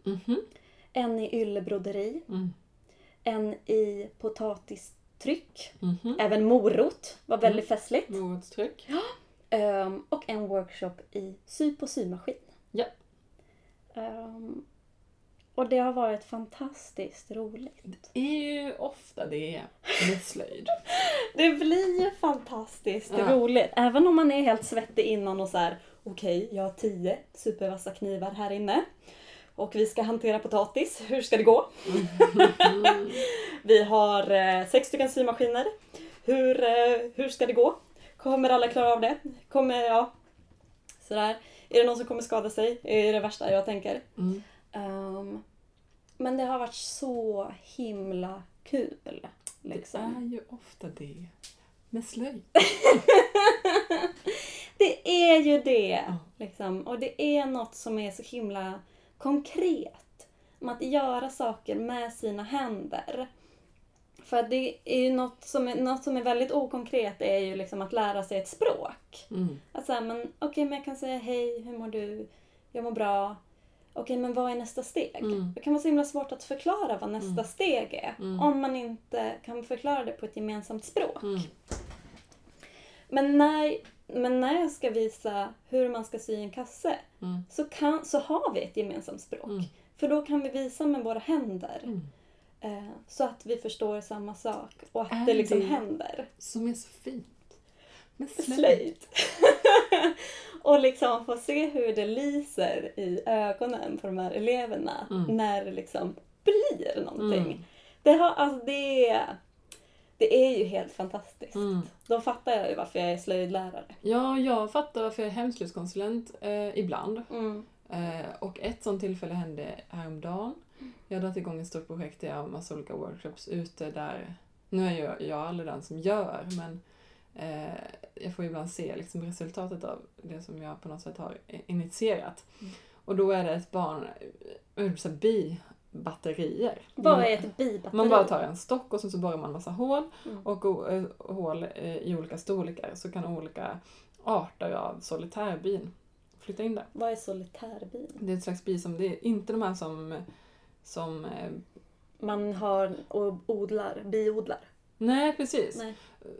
Speaker 2: Mhm.
Speaker 3: En i yllebroderi,
Speaker 2: Mm.
Speaker 3: en i potatistryck,
Speaker 2: Mhm.
Speaker 3: även morot var väldigt
Speaker 2: Mm.
Speaker 3: festligt.
Speaker 2: Morotstryck.
Speaker 3: Ehm, och en workshop i sy på symaskin.
Speaker 2: Ja.
Speaker 3: Ehm, och det har varit fantastiskt roligt.
Speaker 2: Det är ju ofta det med slöjd.
Speaker 3: Det blir ju fantastiskt
Speaker 2: Ja.
Speaker 3: roligt. Även om man är helt svettig innan och så här: okej, jag har tio supervassa knivar här inne. Och vi ska hantera potatis, hur ska det gå? vi har eh, sex stycken symaskiner. Hur, eh, hur ska det gå? Kommer alla klara av det? Kommer, ja. sådär. Är det någon som kommer skada sig? Är det värsta jag tänker.
Speaker 2: Mm.
Speaker 3: Ehm, men det har varit så himla kul.
Speaker 2: Det
Speaker 3: Liksom.
Speaker 2: är ju ofta det. Med slöjd.
Speaker 3: Det är ju det.
Speaker 2: Ja.
Speaker 3: Liksom. Och det är något som är så himla konkret. Om att göra saker med sina händer. För att det är ju något som är, något som är väldigt okonkret är ju liksom att lära sig ett språk.
Speaker 2: Mm.
Speaker 3: Att säga, men okej, men jag kan säga hej, hur mår du? Jag mår bra. Okej, men vad är nästa steg?
Speaker 2: Mm.
Speaker 3: Det kan vara så himla svårt att förklara vad nästa
Speaker 2: Mm.
Speaker 3: steg är.
Speaker 2: Mm.
Speaker 3: Om man inte kan förklara det på ett gemensamt språk.
Speaker 2: Mm.
Speaker 3: Men när, men när jag ska visa hur man ska sy en kasse
Speaker 2: Mm.
Speaker 3: så, kan, så har vi ett gemensamt språk.
Speaker 2: Mm.
Speaker 3: För då kan vi visa med våra händer
Speaker 2: Mm.
Speaker 3: eh, så att vi förstår samma sak och att
Speaker 2: Är
Speaker 3: det liksom
Speaker 2: det-
Speaker 3: händer.
Speaker 2: Som är så fint. Med slöjd.
Speaker 3: Slöjd. och liksom få se hur det lyser i ögonen på de här eleverna
Speaker 2: Mm.
Speaker 3: när det liksom blir någonting.
Speaker 2: Mm.
Speaker 3: Det, har, alltså det, det är ju helt fantastiskt.
Speaker 2: Mm.
Speaker 3: Då fattar jag ju varför jag är slöjdlärare.
Speaker 2: Ja, jag fattar varför jag är hemslöjdskonsulent eh, ibland.
Speaker 3: Mm.
Speaker 2: Eh, och ett sånt tillfälle hände häromdagen.
Speaker 3: Mm.
Speaker 2: Jag hade dragit igång ett stort projekt där jag har massa olika workshops ute där... Nu är jag, jag aldrig den som gör, men eh, jag får ibland se liksom resultatet av det som jag på något sätt har i- initierat.
Speaker 3: Mm.
Speaker 2: Och då är det ett barn, eh, så här, bibatterier.
Speaker 3: Vad
Speaker 2: Man-
Speaker 3: är ett bibatteri?
Speaker 2: Mm. man bara tar en stock och sen så borrar man massa hål
Speaker 3: Mm.
Speaker 2: och o- eh, hål eh, i olika storlekar så kan olika arter av solitärbin flytta in där.
Speaker 3: Vad är solitärbin?
Speaker 2: Det är ett slags bi som, det är inte de här som, som eh,
Speaker 3: Man har och odlar, biodlar.
Speaker 2: nej precis.
Speaker 3: Nej.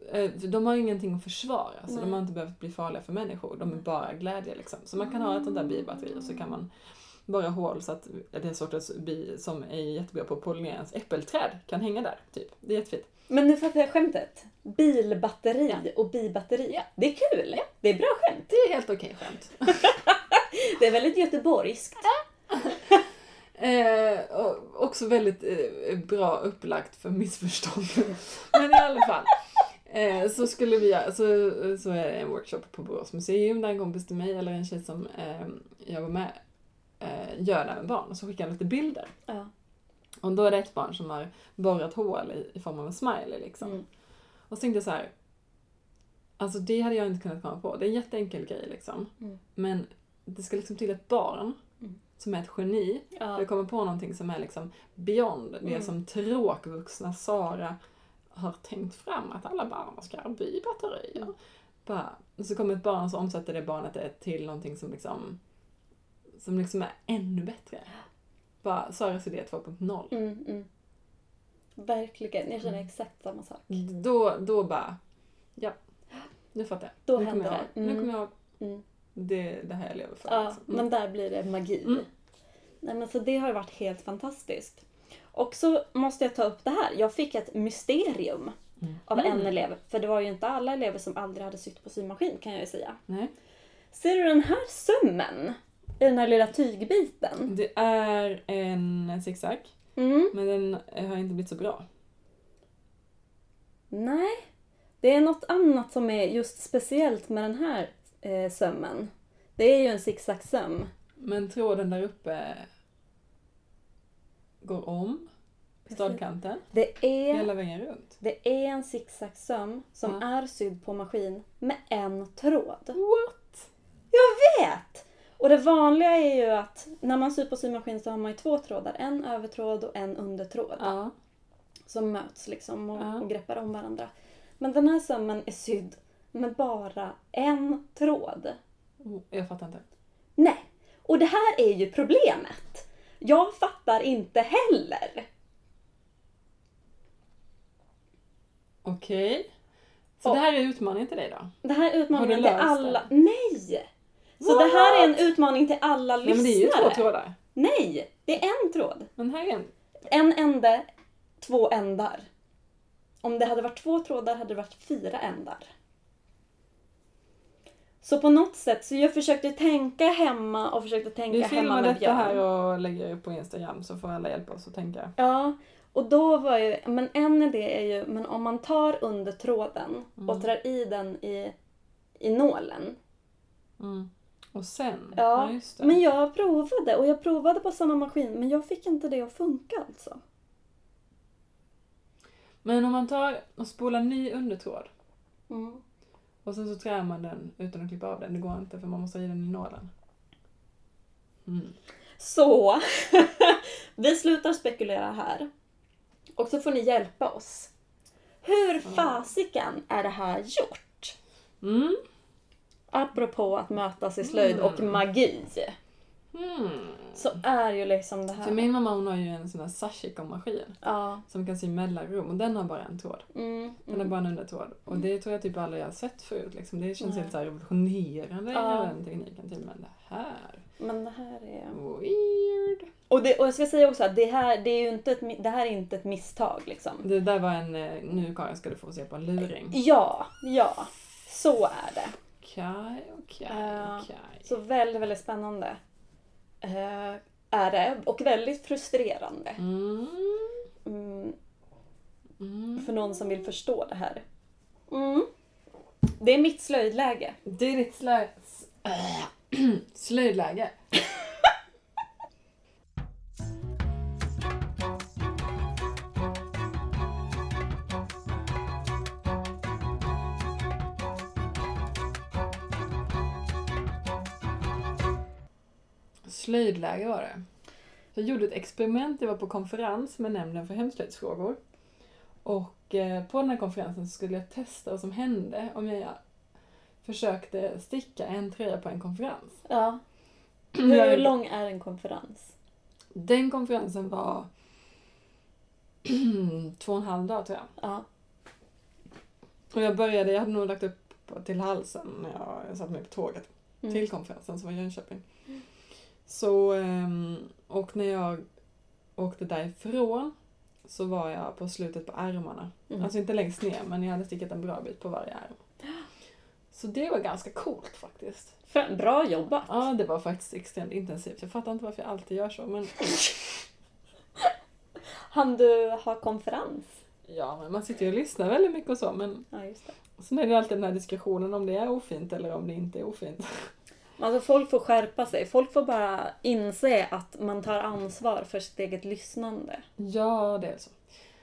Speaker 2: Eh, De har ingenting att försvara så de
Speaker 3: Nej.
Speaker 2: har inte behövt bli farliga för människor. De är
Speaker 3: Nej.
Speaker 2: bara glädje liksom. Så man kan ha ett sånt där bibatteri och så kan man borra hål så att det sortens bi som är jättebra på att pollinera ens äppelträd kan hänga där. Typ. Det är jättefint.
Speaker 3: Men nu fattar jag skämtet. Bilbatteri och bibatteri. Det är kul. Det är bra skämt.
Speaker 2: Det är helt okej skämt.
Speaker 3: Det är väldigt göteborgskt.
Speaker 2: Eh, och också väldigt eh, bra upplagt för missförstånd. Men i alla fall. Eh, så skulle vi så, så är det en workshop på Borås museum där en kompis till mig, eller en tjej som eh, jag var med, eh, gör det här med barn. Och så skickar jag lite bilder.
Speaker 3: Ja.
Speaker 2: Och då är det ett barn som har borrat hål i, i form av en smiley liksom.
Speaker 3: Mm.
Speaker 2: Och så tänkte jag så här. Alltså det hade jag inte kunnat komma på. Det är en jätteenkel grej liksom.
Speaker 3: Mm.
Speaker 2: Men det ska liksom till ett barn
Speaker 3: Mm.
Speaker 2: som är ett geni
Speaker 3: Ja.
Speaker 2: du kommer på någonting som är liksom beyond det
Speaker 3: Mm.
Speaker 2: som tråkvuxna Sara har tänkt fram att alla barn ska ha bibatterier.
Speaker 3: Mm.
Speaker 2: Bara, och så kommer ett barn och så omsätter det barnet det till någonting som liksom, som liksom är ännu bättre. Bara Saras idé 2.0.
Speaker 3: Mm, mm. Verkligen. Jag känner
Speaker 2: Mm.
Speaker 3: exakt samma sak.
Speaker 2: Då, då bara, ja, nu fattar jag.
Speaker 3: Då
Speaker 2: nu
Speaker 3: händer
Speaker 2: kommer jag,
Speaker 3: det.
Speaker 2: Nu
Speaker 3: Mm.
Speaker 2: kommer jag ihåg.
Speaker 3: Mm.
Speaker 2: Det, det här jag lever för.
Speaker 3: Ja,
Speaker 2: liksom. Mm.
Speaker 3: men där blir det magi.
Speaker 2: Mm.
Speaker 3: Nej, men så det har varit helt fantastiskt. Och så måste jag ta upp det här. Jag fick ett mysterium
Speaker 2: Mm.
Speaker 3: av en elev. För det var ju inte alla elever som aldrig hade sytt på symaskin kan jag ju säga.
Speaker 2: Nej.
Speaker 3: Ser du den här sömmen? I den här lilla tygbiten?
Speaker 2: Det är en zigzag,
Speaker 3: Mm.
Speaker 2: men den har inte blivit så bra.
Speaker 3: Nej. Det är något annat som är just speciellt med den här eh, sömmen. Det är ju en zigzagsöm.
Speaker 2: Men tråden där uppe går om
Speaker 3: Precis.
Speaker 2: stadkanten
Speaker 3: Det är,
Speaker 2: hela vägen runt.
Speaker 3: det är en zigzagsöm som
Speaker 2: Ja.
Speaker 3: är sydd på maskin med en tråd.
Speaker 2: What?
Speaker 3: vet! Och det vanliga är ju att när man syr på symaskin så har man ju två trådar. En övertråd och en undertråd
Speaker 2: Ja.
Speaker 3: som möts liksom och,
Speaker 2: Ja.
Speaker 3: och greppar om varandra. Men den här sömmen är sydd med bara en tråd.
Speaker 2: Oh, Jag fattar inte.
Speaker 3: Nej! Och det här är ju problemet. Jag fattar inte heller.
Speaker 2: Okej. Så
Speaker 3: Och-
Speaker 2: det här är utmaningen till dig då?
Speaker 3: Det här är utmaningen till
Speaker 2: löst det?
Speaker 3: alla... Nej! Så det här är en utmaning till alla
Speaker 2: Nej men det är ju
Speaker 3: lyssnare.
Speaker 2: två trådar.
Speaker 3: Nej! Det är en tråd.
Speaker 2: Men här är en.
Speaker 3: En ände, två ändar. Om det hade varit två trådar hade det varit fyra ändar. Så på något sätt, så jag försökte tänka hemma och försökte tänka
Speaker 2: Vi
Speaker 3: hemma
Speaker 2: filmar
Speaker 3: med
Speaker 2: detta
Speaker 3: Björn.
Speaker 2: här och lägger upp på Instagram så får alla hjälpa oss att tänka.
Speaker 3: Ja, och då var ju, men en idé är ju, men om man tar under tråden
Speaker 2: Mm.
Speaker 3: och drar i den i, i nålen
Speaker 2: Mm. Och sen?
Speaker 3: Ja,
Speaker 2: just det.
Speaker 3: Men jag provade och jag provade på samma maskin men jag fick inte det att funka alltså.
Speaker 2: Men om man tar och spolar ny undertråd
Speaker 3: Mm.
Speaker 2: och sen så trär man den utan att klippa av den. Det går inte för man måste ha i den i nålen. Mm.
Speaker 3: Så, vi slutar spekulera här. Och så får ni hjälpa oss. Hur fasiken är det här gjort?
Speaker 2: Mm.
Speaker 3: Apropå att mötas i slöjd och magi.
Speaker 2: Mm.
Speaker 3: Så är ju liksom det här...
Speaker 2: För min mamma hon har ju en sån här sashiko-maskin
Speaker 3: Ja.
Speaker 2: som kan sy mellanrum och den har bara en tråd.
Speaker 3: Mm,
Speaker 2: Den har
Speaker 3: mm.
Speaker 2: bara en undertråd. Och det tror jag typ aldrig jag har sett förut. Liksom. Det känns
Speaker 3: Nej.
Speaker 2: helt så här revolutionerande
Speaker 3: Ja.
Speaker 2: i den tekniken. Typ. Men det här...
Speaker 3: Men det här är...
Speaker 2: Weird.
Speaker 3: Och, det, och jag ska säga också att det här, det är ju inte ett, mi- det här är inte ett misstag liksom.
Speaker 2: Det där var en... eh, Nu Karin ska du få se på en luring.
Speaker 3: Ja, ja. Så är det.
Speaker 2: Okej, okej,
Speaker 3: Ja.
Speaker 2: okej.
Speaker 3: Så väldigt, väldigt spännande. eh, är det. Och väldigt frustrerande.
Speaker 2: Mm.
Speaker 3: Mm,
Speaker 2: Mm.
Speaker 3: för någon som vill förstå det här. Mm. Det är mitt slöjdläge.
Speaker 2: Det är ditt slö... s- äh, slöjdläge. Slöjdläge var det. Jag gjorde ett experiment, jag var på konferens med Nämnden för hemslöjdsfrågor. Och eh, på den här konferensen så skulle jag testa vad som hände om jag försökte sticka en tröja på en konferens.
Speaker 3: Ja.
Speaker 2: Jag
Speaker 3: Hur
Speaker 2: gjorde-
Speaker 3: lång är en konferens?
Speaker 2: Den konferensen var två och en halv dag tror jag.
Speaker 3: Ja.
Speaker 2: Och jag började, jag hade nog lagt upp på- till halsen när jag, jag satte mig på tåget
Speaker 3: Mm.
Speaker 2: till konferensen som var i Jönköping. Så, ehm, och när jag åkte därifrån så var jag på slutet på ärmarna.
Speaker 3: Mm.
Speaker 2: Alltså inte längst ner men jag hade stickat en bra bit på varje ärm. Så det var ganska coolt faktiskt.
Speaker 3: Fem- Bra jobbat!
Speaker 2: Ja, det var faktiskt extremt intensivt. Jag fattar inte varför jag alltid gör så, men
Speaker 3: Han du ha konferens?
Speaker 2: ja, men man sitter ju och lyssnar väldigt mycket och så, men
Speaker 3: Ja, just det.
Speaker 2: sen är det alltid den här diskussionen om det är ofint eller om det inte är ofint.
Speaker 3: Alltså folk får skärpa sig. Folk får bara inse att man tar ansvar för sitt eget lyssnande.
Speaker 2: Ja, det är så.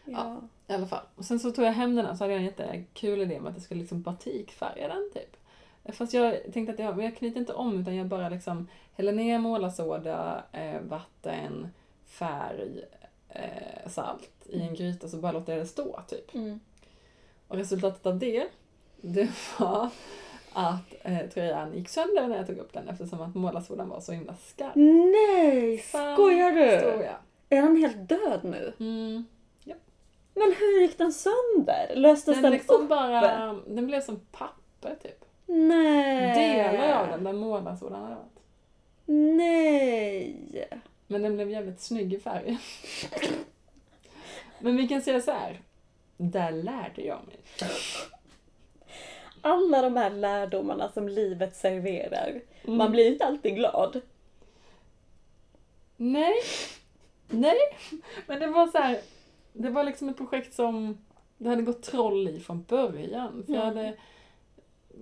Speaker 3: Ja.
Speaker 2: I alla fall. Och sen så tog jag hem den här, så hade jag en jättekul idé med att jag skulle liksom batikfärga den typ. Fast jag tänkte att jag, men jag knyter inte om utan jag bara liksom häller ner målarsåda, eh, vatten, färg, eh, salt i en gryta så bara låter jag det stå typ.
Speaker 3: Mm.
Speaker 2: Och resultatet av det, det var att eh, tröjan gick sönder när jag tog upp den eftersom att målarsådan var så himla skarp.
Speaker 3: Nej!
Speaker 2: Fan,
Speaker 3: Skojar
Speaker 2: förstår
Speaker 3: du?
Speaker 2: jag.
Speaker 3: Är han helt död nu?
Speaker 2: Mm.
Speaker 3: Men hur gick den sönder? Löstes
Speaker 2: Den
Speaker 3: den,
Speaker 2: liksom
Speaker 3: upp?
Speaker 2: bara, den blev som papper typ.
Speaker 3: Nej!
Speaker 2: Delar av den där målarsådan hade varit.
Speaker 3: Nej!
Speaker 2: Men den blev jävligt snygg i färgen. Men vi kan säga så här. Där lärde jag mig.
Speaker 3: Alla de här lärdomarna som livet serverar.
Speaker 2: Mm.
Speaker 3: Man blir inte alltid glad.
Speaker 2: Nej. Nej. Men det var så här. Det var liksom ett projekt som det hade gått troll i från början. För jag
Speaker 3: Mm.
Speaker 2: hade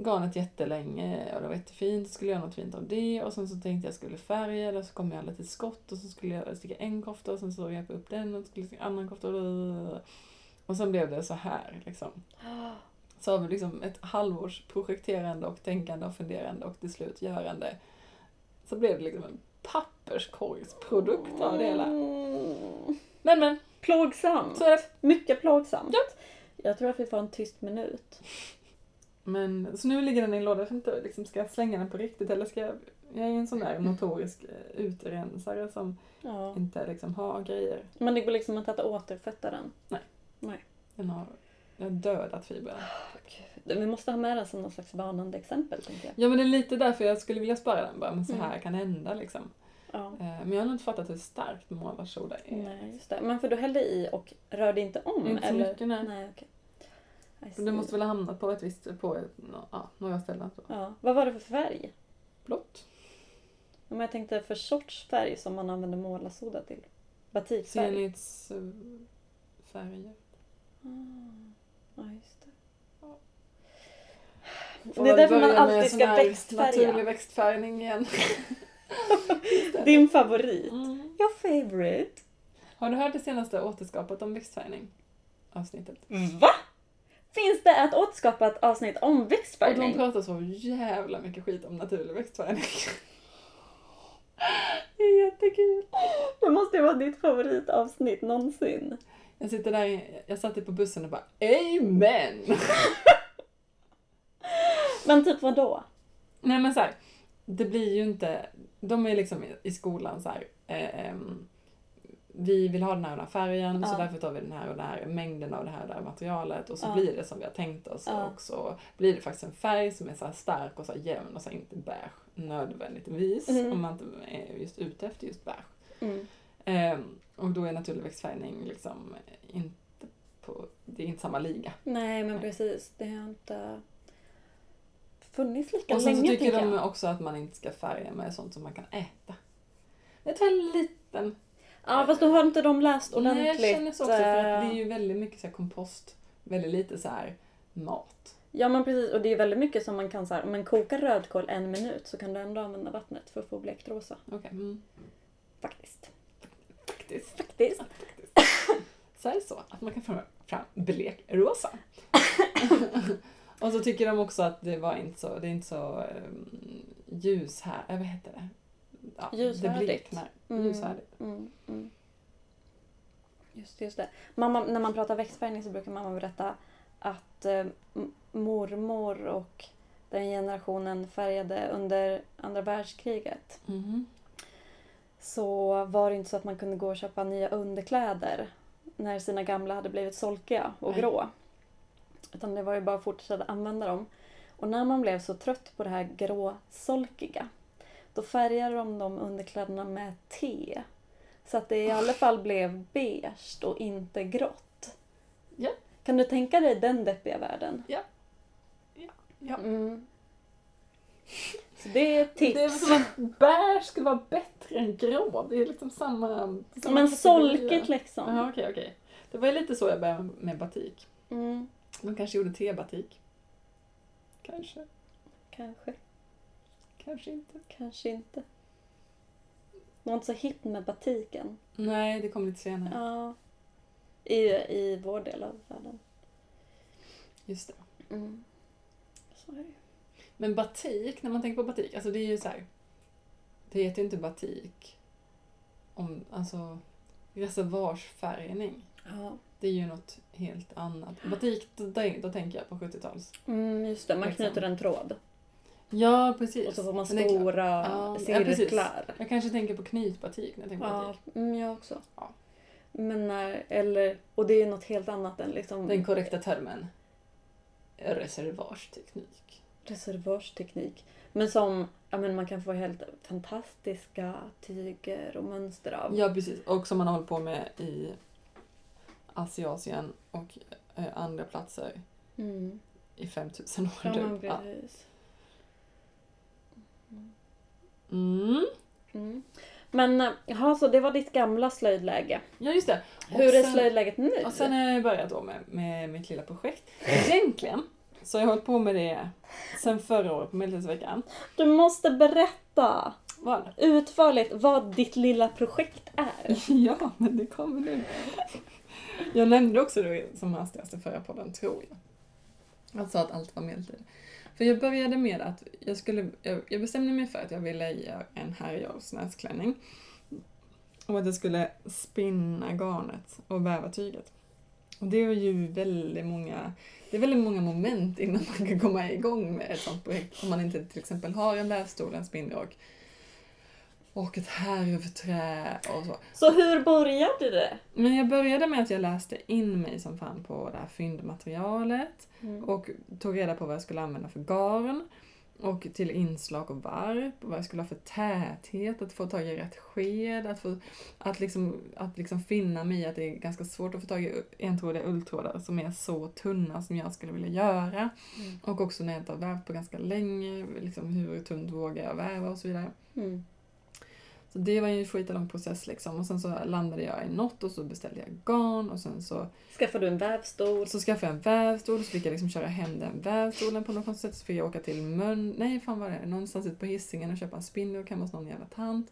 Speaker 2: garnet jättelänge och det var jättefint. Så skulle jag göra något fint av det. Och sen så tänkte jag skulle färga det. Och så kom jag lite skott. Och så skulle jag sticka en kofta. Och sen så jag upp den och skulle sticka en annan kofta. och- Och sen blev det så här liksom. Så har vi liksom ett halvårs projekterande och tänkande och funderande och till slut görande. Så blev det liksom en papperskorgsprodukt av det hela.
Speaker 3: Mm.
Speaker 2: Men men,
Speaker 3: Plågsamt.
Speaker 2: så är det.
Speaker 3: Mycket plågsamt. Jag tror att vi får en tyst minut.
Speaker 2: Men, så nu ligger den i en låda. Jag vet inte, liksom, ska jag slänga den på riktigt eller ska jag... Jag är ju en sån där notorisk eh, utrensare som
Speaker 3: Ja.
Speaker 2: inte liksom har grejer.
Speaker 3: Men det går liksom inte att återfötta den.
Speaker 2: Den har, jag har dödat fibrer.
Speaker 3: Vi måste ha med den som någon slags varnande exempel, tänker jag.
Speaker 2: Ja men det är lite därför jag skulle vilja spara den bara. Men så här
Speaker 3: Mm.
Speaker 2: kan det hända liksom.
Speaker 3: Ja.
Speaker 2: Eh, Men jag har nog inte fattat hur starkt målarsoda är.
Speaker 3: Nej, just det. Men för du hällde i och rörde inte om?
Speaker 2: Inte så
Speaker 3: eller?
Speaker 2: mycket, nej.
Speaker 3: nej okej. I
Speaker 2: Men det
Speaker 3: see.
Speaker 2: måste väl ha hamnat på ett visst, på ett, nå- ja, några ställen. Så.
Speaker 3: Ja. Vad var det för färg?
Speaker 2: Blått.
Speaker 3: Ja, Men jag tänkte för sorts färg som man använder målarsoda till. Batikfärg.
Speaker 2: Senhetsfärger.
Speaker 3: Ah, Mm. Ja, just det.
Speaker 2: Får
Speaker 3: Det är
Speaker 2: väl
Speaker 3: därför man
Speaker 2: börja med
Speaker 3: alltid
Speaker 2: sån
Speaker 3: ska
Speaker 2: här
Speaker 3: växtfärga.
Speaker 2: Naturlig växtfärgning igen.
Speaker 3: Din favorit. Your favorite.
Speaker 2: Mm. Har du hört det senaste återskapet om växtfärgning? Avsnittet.
Speaker 3: Va? Finns det ett återskapat avsnitt om
Speaker 2: Och de
Speaker 3: växtfärgning?
Speaker 2: pratar så jävla mycket skit om naturlig växtfärgning. Det är jättekul.
Speaker 3: Det måste ju vara ditt favoritavsnitt någonsin.
Speaker 2: Jag sitter där, jag satt ju på bussen och bara Amen!
Speaker 3: Men typ vad då?
Speaker 2: Nej men såhär, det blir ju inte... De är liksom i- i skolan såhär... Eh, ehm, vi vill ha den här och den här färgen så
Speaker 3: Ja.
Speaker 2: därför tar vi den här och den här mängden av det här och det här materialet och så
Speaker 3: Ja.
Speaker 2: blir det som vi har tänkt oss
Speaker 3: Ja.
Speaker 2: och så blir det faktiskt en färg som är så här stark och så här jämn och så här inte beige nödvändigtvis
Speaker 3: Mm.
Speaker 2: om man inte är just ute efter just beige.
Speaker 3: Mm.
Speaker 2: Ehm, och då är naturlig växtfärgning liksom inte på... Det är inte samma liga.
Speaker 3: Nej men precis, det har inte funnits lika
Speaker 2: och sen så
Speaker 3: länge
Speaker 2: tycker
Speaker 3: tycker
Speaker 2: de
Speaker 3: jag.
Speaker 2: också att man inte ska färga med sånt som man kan äta. Jag tar en liten
Speaker 3: Ja fast då har inte de läst
Speaker 2: Nej,
Speaker 3: ordentligt.
Speaker 2: jag känner så också. För att det är
Speaker 3: eh,
Speaker 2: ju väldigt mycket så här kompost, väldigt lite så här mat.
Speaker 3: Ja men precis och det är väldigt mycket som man kan så här, om man kokar rödkål en minut så kan du ändå använda vattnet för att få blekt rosa.
Speaker 2: Okej. Mm.
Speaker 3: Faktiskt.
Speaker 2: Faktiskt.
Speaker 3: Faktiskt.
Speaker 2: Så är det så att man kan få fram blekrosa. Och så tycker de också att det var inte så, det är inte så um, ljus här, eh, vad heter det? Ja,
Speaker 3: Ljusvärdigt.
Speaker 2: Det bleknar.
Speaker 3: Mm.
Speaker 2: Ljusvärdigt.
Speaker 3: Mm, mm. Just det, just det. Mamma, när man pratar växtfärgning så brukar mamma berätta att eh, m- mormor och den generationen färgade under andra världskriget.
Speaker 2: Mhm.
Speaker 3: Så var det inte så att man kunde gå och köpa nya underkläder när sina gamla hade blivit solkiga och
Speaker 2: Nej.
Speaker 3: grå. Utan det var ju bara att fortsätta använda dem. Och när man blev så trött på det här gråsolkiga då färgade de de underkläderna med te. Så att det i alla fall blev beige och inte grått.
Speaker 2: Ja.
Speaker 3: Kan du tänka dig den deppiga världen?
Speaker 2: Ja. Ja. Ja.
Speaker 3: Mm. Så det är ett tips.
Speaker 2: Det är som att bär skulle vara bättre än grå. Det är liksom samma... samma
Speaker 3: Men
Speaker 2: kategori.
Speaker 3: solkigt liksom.
Speaker 2: Ja, okej, okej. Det var ju lite så jag började med batik.
Speaker 3: Mm,
Speaker 2: De kanske gjorde tebatik. Kanske,
Speaker 3: kanske.
Speaker 2: kanske inte.
Speaker 3: Kanske inte. Det var inte så hippt med batiken.
Speaker 2: Nej, det kom lite senare.
Speaker 3: Ja. I, I vår del av världen.
Speaker 2: Just det.
Speaker 3: Mm. Så är det ju.
Speaker 2: Men batik, när man tänker på batik, alltså det är ju så här. Det heter ju inte batik om, alltså reservoarsfärgning.
Speaker 3: Ja.
Speaker 2: Det är ju något helt annat. Batik, då, då, då tänker jag på 70-tals.
Speaker 3: Mm, just det, man
Speaker 2: Liksom.
Speaker 3: knyter en tråd.
Speaker 2: Ja, precis.
Speaker 3: Och så får man
Speaker 2: Men det är klart.
Speaker 3: stora
Speaker 2: Ja, ja, precis.
Speaker 3: cirklar.
Speaker 2: Jag kanske tänker på knytbatik när jag tänker på
Speaker 3: Ja,
Speaker 2: batik.
Speaker 3: mm, jag också.
Speaker 2: Ja.
Speaker 3: Men när, eller, och det är ju något helt annat än liksom
Speaker 2: Den korrekta termen reservoarsteknik.
Speaker 3: reservoarsteknik. Men som, ja men man kan få helt fantastiska tyger och mönster av.
Speaker 2: Ja, precis. Och som man har hållit på med i Asiasien och eh, andra platser
Speaker 3: Mm.
Speaker 2: i 5000 år.
Speaker 3: Ja,
Speaker 2: typ.
Speaker 3: men
Speaker 2: Ja.
Speaker 3: precis.
Speaker 2: Mm.
Speaker 3: Mm. Men eh, jaha, så det var ditt gamla slöjdläge.
Speaker 2: ja, just det. Och
Speaker 3: Hur är
Speaker 2: sen-
Speaker 3: slöjdläget nu?
Speaker 2: Och sen har jag börjat då med, med mitt lilla projekt. Egentligen så har jag hållit på med det sen förra året på Medeltidsveckan.
Speaker 3: Du måste berätta
Speaker 2: Vad?
Speaker 3: utförligt vad ditt lilla projekt är.
Speaker 2: Ja, men det kommer nu. Jag nämnde också det som hastigast i förra podden, tror jag. Alltså att allt var medeltid. För jag började med att jag skulle, jag, jag bestämde mig för att jag ville göra en Herrejolfs näsklänning. Och att jag skulle spinna garnet och väva tyget. Och det är ju väldigt många, det är väldigt många moment innan man kan komma igång med ett sånt projekt. Om man inte till exempel har en vävstol, en spinnrock och ett härvträ och så.
Speaker 3: Så hur började det?
Speaker 2: Men jag började med att jag läste in mig som fan på det här fyndmaterialet och tog reda på vad jag skulle använda för garn och till inslag och varp och vad jag skulle ha för täthet, att få tag i rätt sked, att, få, att, liksom, att liksom finna mig i att det är ganska svårt att få tag i entrådiga ulltrådar som är så tunna som jag skulle vilja göra.
Speaker 3: Mm.
Speaker 2: Och också när jag inte har vävt på ganska länge, liksom hur tunt vågar jag väva och så vidare.
Speaker 3: Mm.
Speaker 2: Så det var ju en skitlång process liksom. Och sen så landade jag i något och så beställde jag garn och sen så,
Speaker 3: Skaffar du en vävstol?
Speaker 2: och så skaffade jag en vävstol och så fick jag liksom köra hem den vävstolen på något sätt. Så fick jag åka till Mön... Nej, fan var det? Någonstans ute på Hisingen och köpa en spindel och hemma hos någon jävla tant.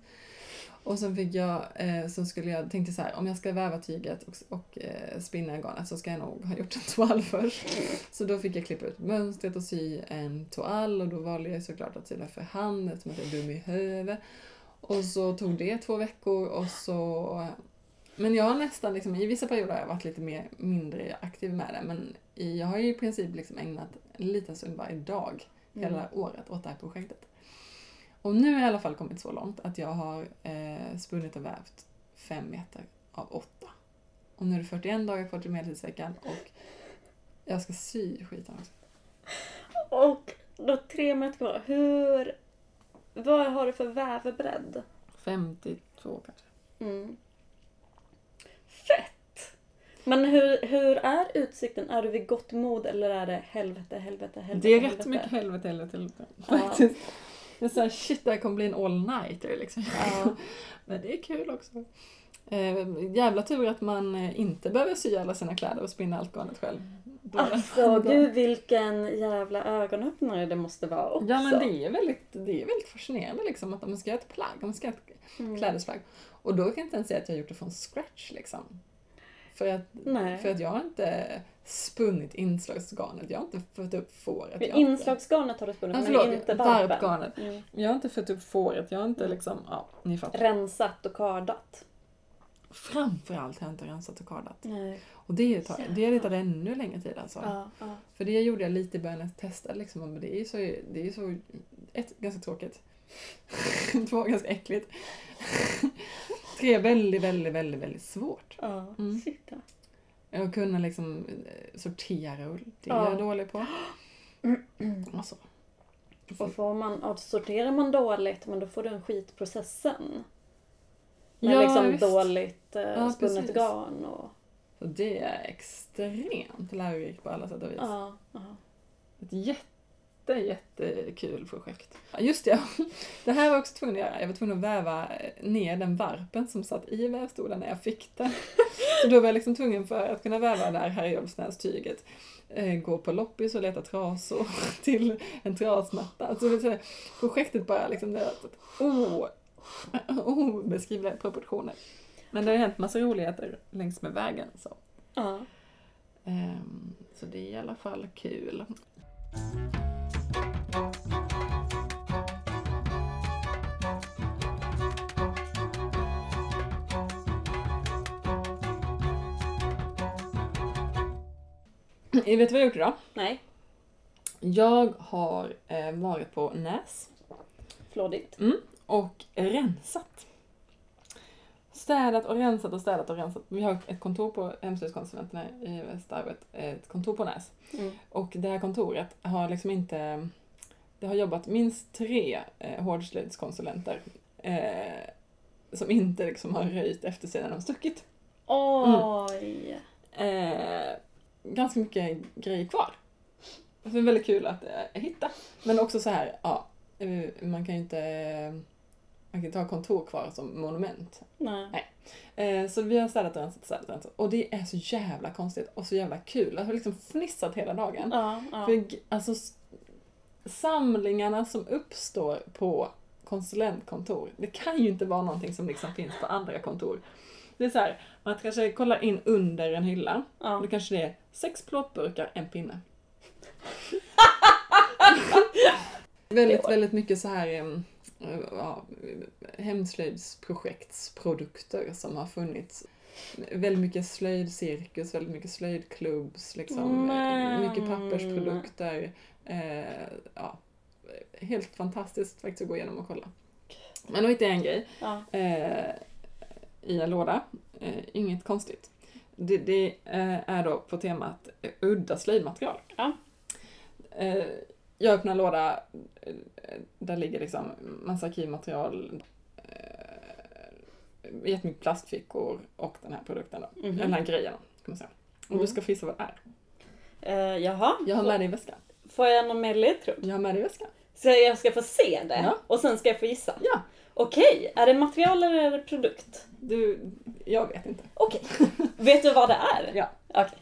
Speaker 2: Och sen fick jag, eh, så skulle jag, tänkte så här, om jag ska väva tyget och, och eh, spinna garnet så ska jag nog ha gjort en toal först. Så då fick jag klippa ut mönstret och sy en toal och då valde jag såklart att sy den för hand eftersom att jag är dum i huvudet. Och så tog det två veckor och så... Men jag har nästan liksom, i vissa perioder har jag varit lite mer, mindre aktiv med det men i, jag har ju i princip liksom ägnat en liten stund varje dag
Speaker 3: Mm.
Speaker 2: hela året åt det här projektet. Och nu har jag i alla fall kommit så långt att jag har eh, spunnit och vävt fem meter av åtta. Och nu är det 41 dagar kvar till medeltidsveckan och jag ska sy skiten också.
Speaker 3: Och då tre meter kvar. Hur... Vad har du för vävbredd?
Speaker 2: 52 kanske.
Speaker 3: Mm. Fett! Men hur, hur är utsikten? Är du vid gott mod eller är det helvete, helvete, helvete?
Speaker 2: Det är rätt
Speaker 3: helvete?
Speaker 2: mycket helvete, helvete, helvete.
Speaker 3: Ja.
Speaker 2: Faktiskt. Jag är såhär, shit det här kommer bli en all-nighter liksom.
Speaker 3: Ja.
Speaker 2: Men det är kul också. Eh, jävla tur att man eh, inte behöver sy alla sina kläder och spinna allt garnet själv. Då-
Speaker 3: Alltså gud vilken jävla ögonöppnare det måste vara också.
Speaker 2: Ja men det är väldigt, det är väldigt fascinerande liksom att om man ska göra ett plagg, om man ska göra ett
Speaker 3: Mm.
Speaker 2: klädesplagg. Och då kan jag inte ens säga att jag har gjort det från scratch liksom. För att,
Speaker 3: Nej.
Speaker 2: för att jag har inte spunnit inslagsgarnet, jag har inte fött upp fåret.
Speaker 3: Men
Speaker 2: jag har inte-
Speaker 3: inslagsgarnet har du spunnit
Speaker 2: Ja,
Speaker 3: men
Speaker 2: förlåt,
Speaker 3: inte varpen.
Speaker 2: varpgarnet.
Speaker 3: Mm.
Speaker 2: Jag har inte fött upp fåret, jag har inte liksom, ja ni fattar.
Speaker 3: Rensat och kardat.
Speaker 2: Framförallt har jag inte rensat och kardat.
Speaker 3: Nej.
Speaker 2: Och det tar, det tar ännu längre tid alltså.
Speaker 3: Ja, ja.
Speaker 2: För det gjorde jag lite i början när jag testade liksom, men det är ju så, det är så ett, ganska tråkigt. Två, ganska äckligt. Tre, väldigt, väldigt, väldigt, väldigt svårt.
Speaker 3: ja.
Speaker 2: Mm.
Speaker 3: Shit, ja.
Speaker 2: Att kunna liksom eh, sortera ull, det är
Speaker 3: Ja.
Speaker 2: jag dålig på. Alltså. Och så.
Speaker 3: Och får man, ja, sorterar man dåligt men då får du en skitprocess sen. Med
Speaker 2: Ja,
Speaker 3: liksom
Speaker 2: visst.
Speaker 3: dåligt eh,
Speaker 2: Ja,
Speaker 3: spunnet
Speaker 2: precis.
Speaker 3: garn och...
Speaker 2: Så det är extremt lärorikt på alla sätt och vis.
Speaker 3: Ja, ja.
Speaker 2: Ett jätte, jättekul projekt. Ja, Just det, det här var jag också tvungen att göra. Jag var tvungen att väva ner den varpen som satt i vävstolen när jag fick den. Så då var jag liksom tvungen för att kunna väva det här herrejolfsnästyget. eh, Gå på loppis och leta trasor till en trasmatta. Alltså, det vill säga, projektet bara liksom, det har varit oh, obeskrivliga proportioner. Men det har hänt massa roligheter längs med vägen. Så.
Speaker 3: ja.
Speaker 2: Ehm, Så det är i alla fall kul. Vet du vad jag har gjort idag?
Speaker 3: Nej,
Speaker 2: Jag har eh, varit på Näs
Speaker 3: flådigt.
Speaker 2: och rensat. Städat och rensat och städat och rensat. Vi har ett kontor på hemslöjdskonsulenterna i Västerarvet, ett kontor på Näs.
Speaker 3: Mm.
Speaker 2: Och det här kontoret har liksom inte... Det har jobbat minst tre eh, hårdslöjdskonsulenter eh, som inte liksom har röjt efter sig när de stuckit.
Speaker 3: Oj!
Speaker 2: Eh, ganska mycket grejer kvar. Alltså, Det är väldigt kul att eh, hitta. Men också så här, ja, eh, man kan ju inte... Man kan inte ha kontor kvar som monument.
Speaker 3: Nej.
Speaker 2: Eh, Så vi har städat och rensat, städat och rensat. Och det är så jävla konstigt och så jävla kul. Alltså, vi har liksom fnissat hela dagen.
Speaker 3: Ja, ja.
Speaker 2: För, g- alltså, s- samlingarna som uppstår på konsulentkontor, det kan ju inte vara någonting som liksom finns på andra kontor. Det är så här, man kanske kollar in under en hylla, och
Speaker 3: ja.
Speaker 2: då kanske det är sex plåtburkar, en pinne. väldigt, väldigt mycket så här em, eh, ja, hemslöjdsprojektsprodukter som har funnits. Väldigt mycket slöjdcirkus, väldigt mycket slöjdklubbs, liksom, eh,
Speaker 3: Men.
Speaker 2: mycket pappersprodukter. Eh, ja, helt fantastiskt faktiskt att gå igenom och kolla. Men då hittade jag en grej
Speaker 3: ja.
Speaker 2: eh, i en låda. Eh, inget konstigt. Det, det eh, är då på temat eh, udda slöjdmaterial.
Speaker 3: Ja.
Speaker 2: Eh, jag öppnar en låda, eh, där ligger liksom massa arkivmaterial, eh, jättemycket plastfickor och den här produkten då.
Speaker 3: Mhm.
Speaker 4: Mm.
Speaker 2: Eller den här grejen, kan man säga. Och
Speaker 3: Mm.
Speaker 2: du ska få gissa vad det är.
Speaker 3: Eh, jaha,
Speaker 2: Jag har med dig i väskan.
Speaker 3: får jag någon mer ledtråd?
Speaker 2: Jag har med dig i väskan.
Speaker 3: Så jag ska få se det
Speaker 2: Ja.
Speaker 3: och sen ska jag få gissa?
Speaker 2: Ja.
Speaker 3: Okej, är det material eller är det produkt?
Speaker 4: Du, jag vet inte.
Speaker 3: Okej. Vet du vad det är?
Speaker 4: Ja.
Speaker 3: Okej.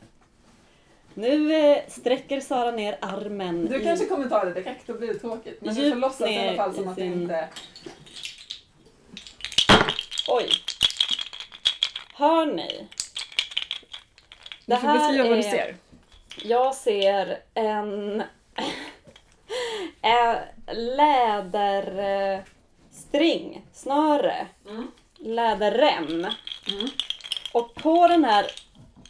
Speaker 3: Nu eh, sträcker Sara ner armen
Speaker 4: Du
Speaker 3: i-
Speaker 4: kanske kommer ta det direkt, då blir det tråkigt. Men du
Speaker 3: Djupt
Speaker 4: får låtsas i alla fall som
Speaker 3: ner i
Speaker 4: att det
Speaker 3: sin-
Speaker 4: inte...
Speaker 3: Oj. Hör ni?
Speaker 4: Du får beskriva vad du
Speaker 3: är-
Speaker 4: ser.
Speaker 3: Jag ser en en läderstring, snöre,
Speaker 4: Mm.
Speaker 3: läderrem.
Speaker 4: Mm.
Speaker 3: Och på den här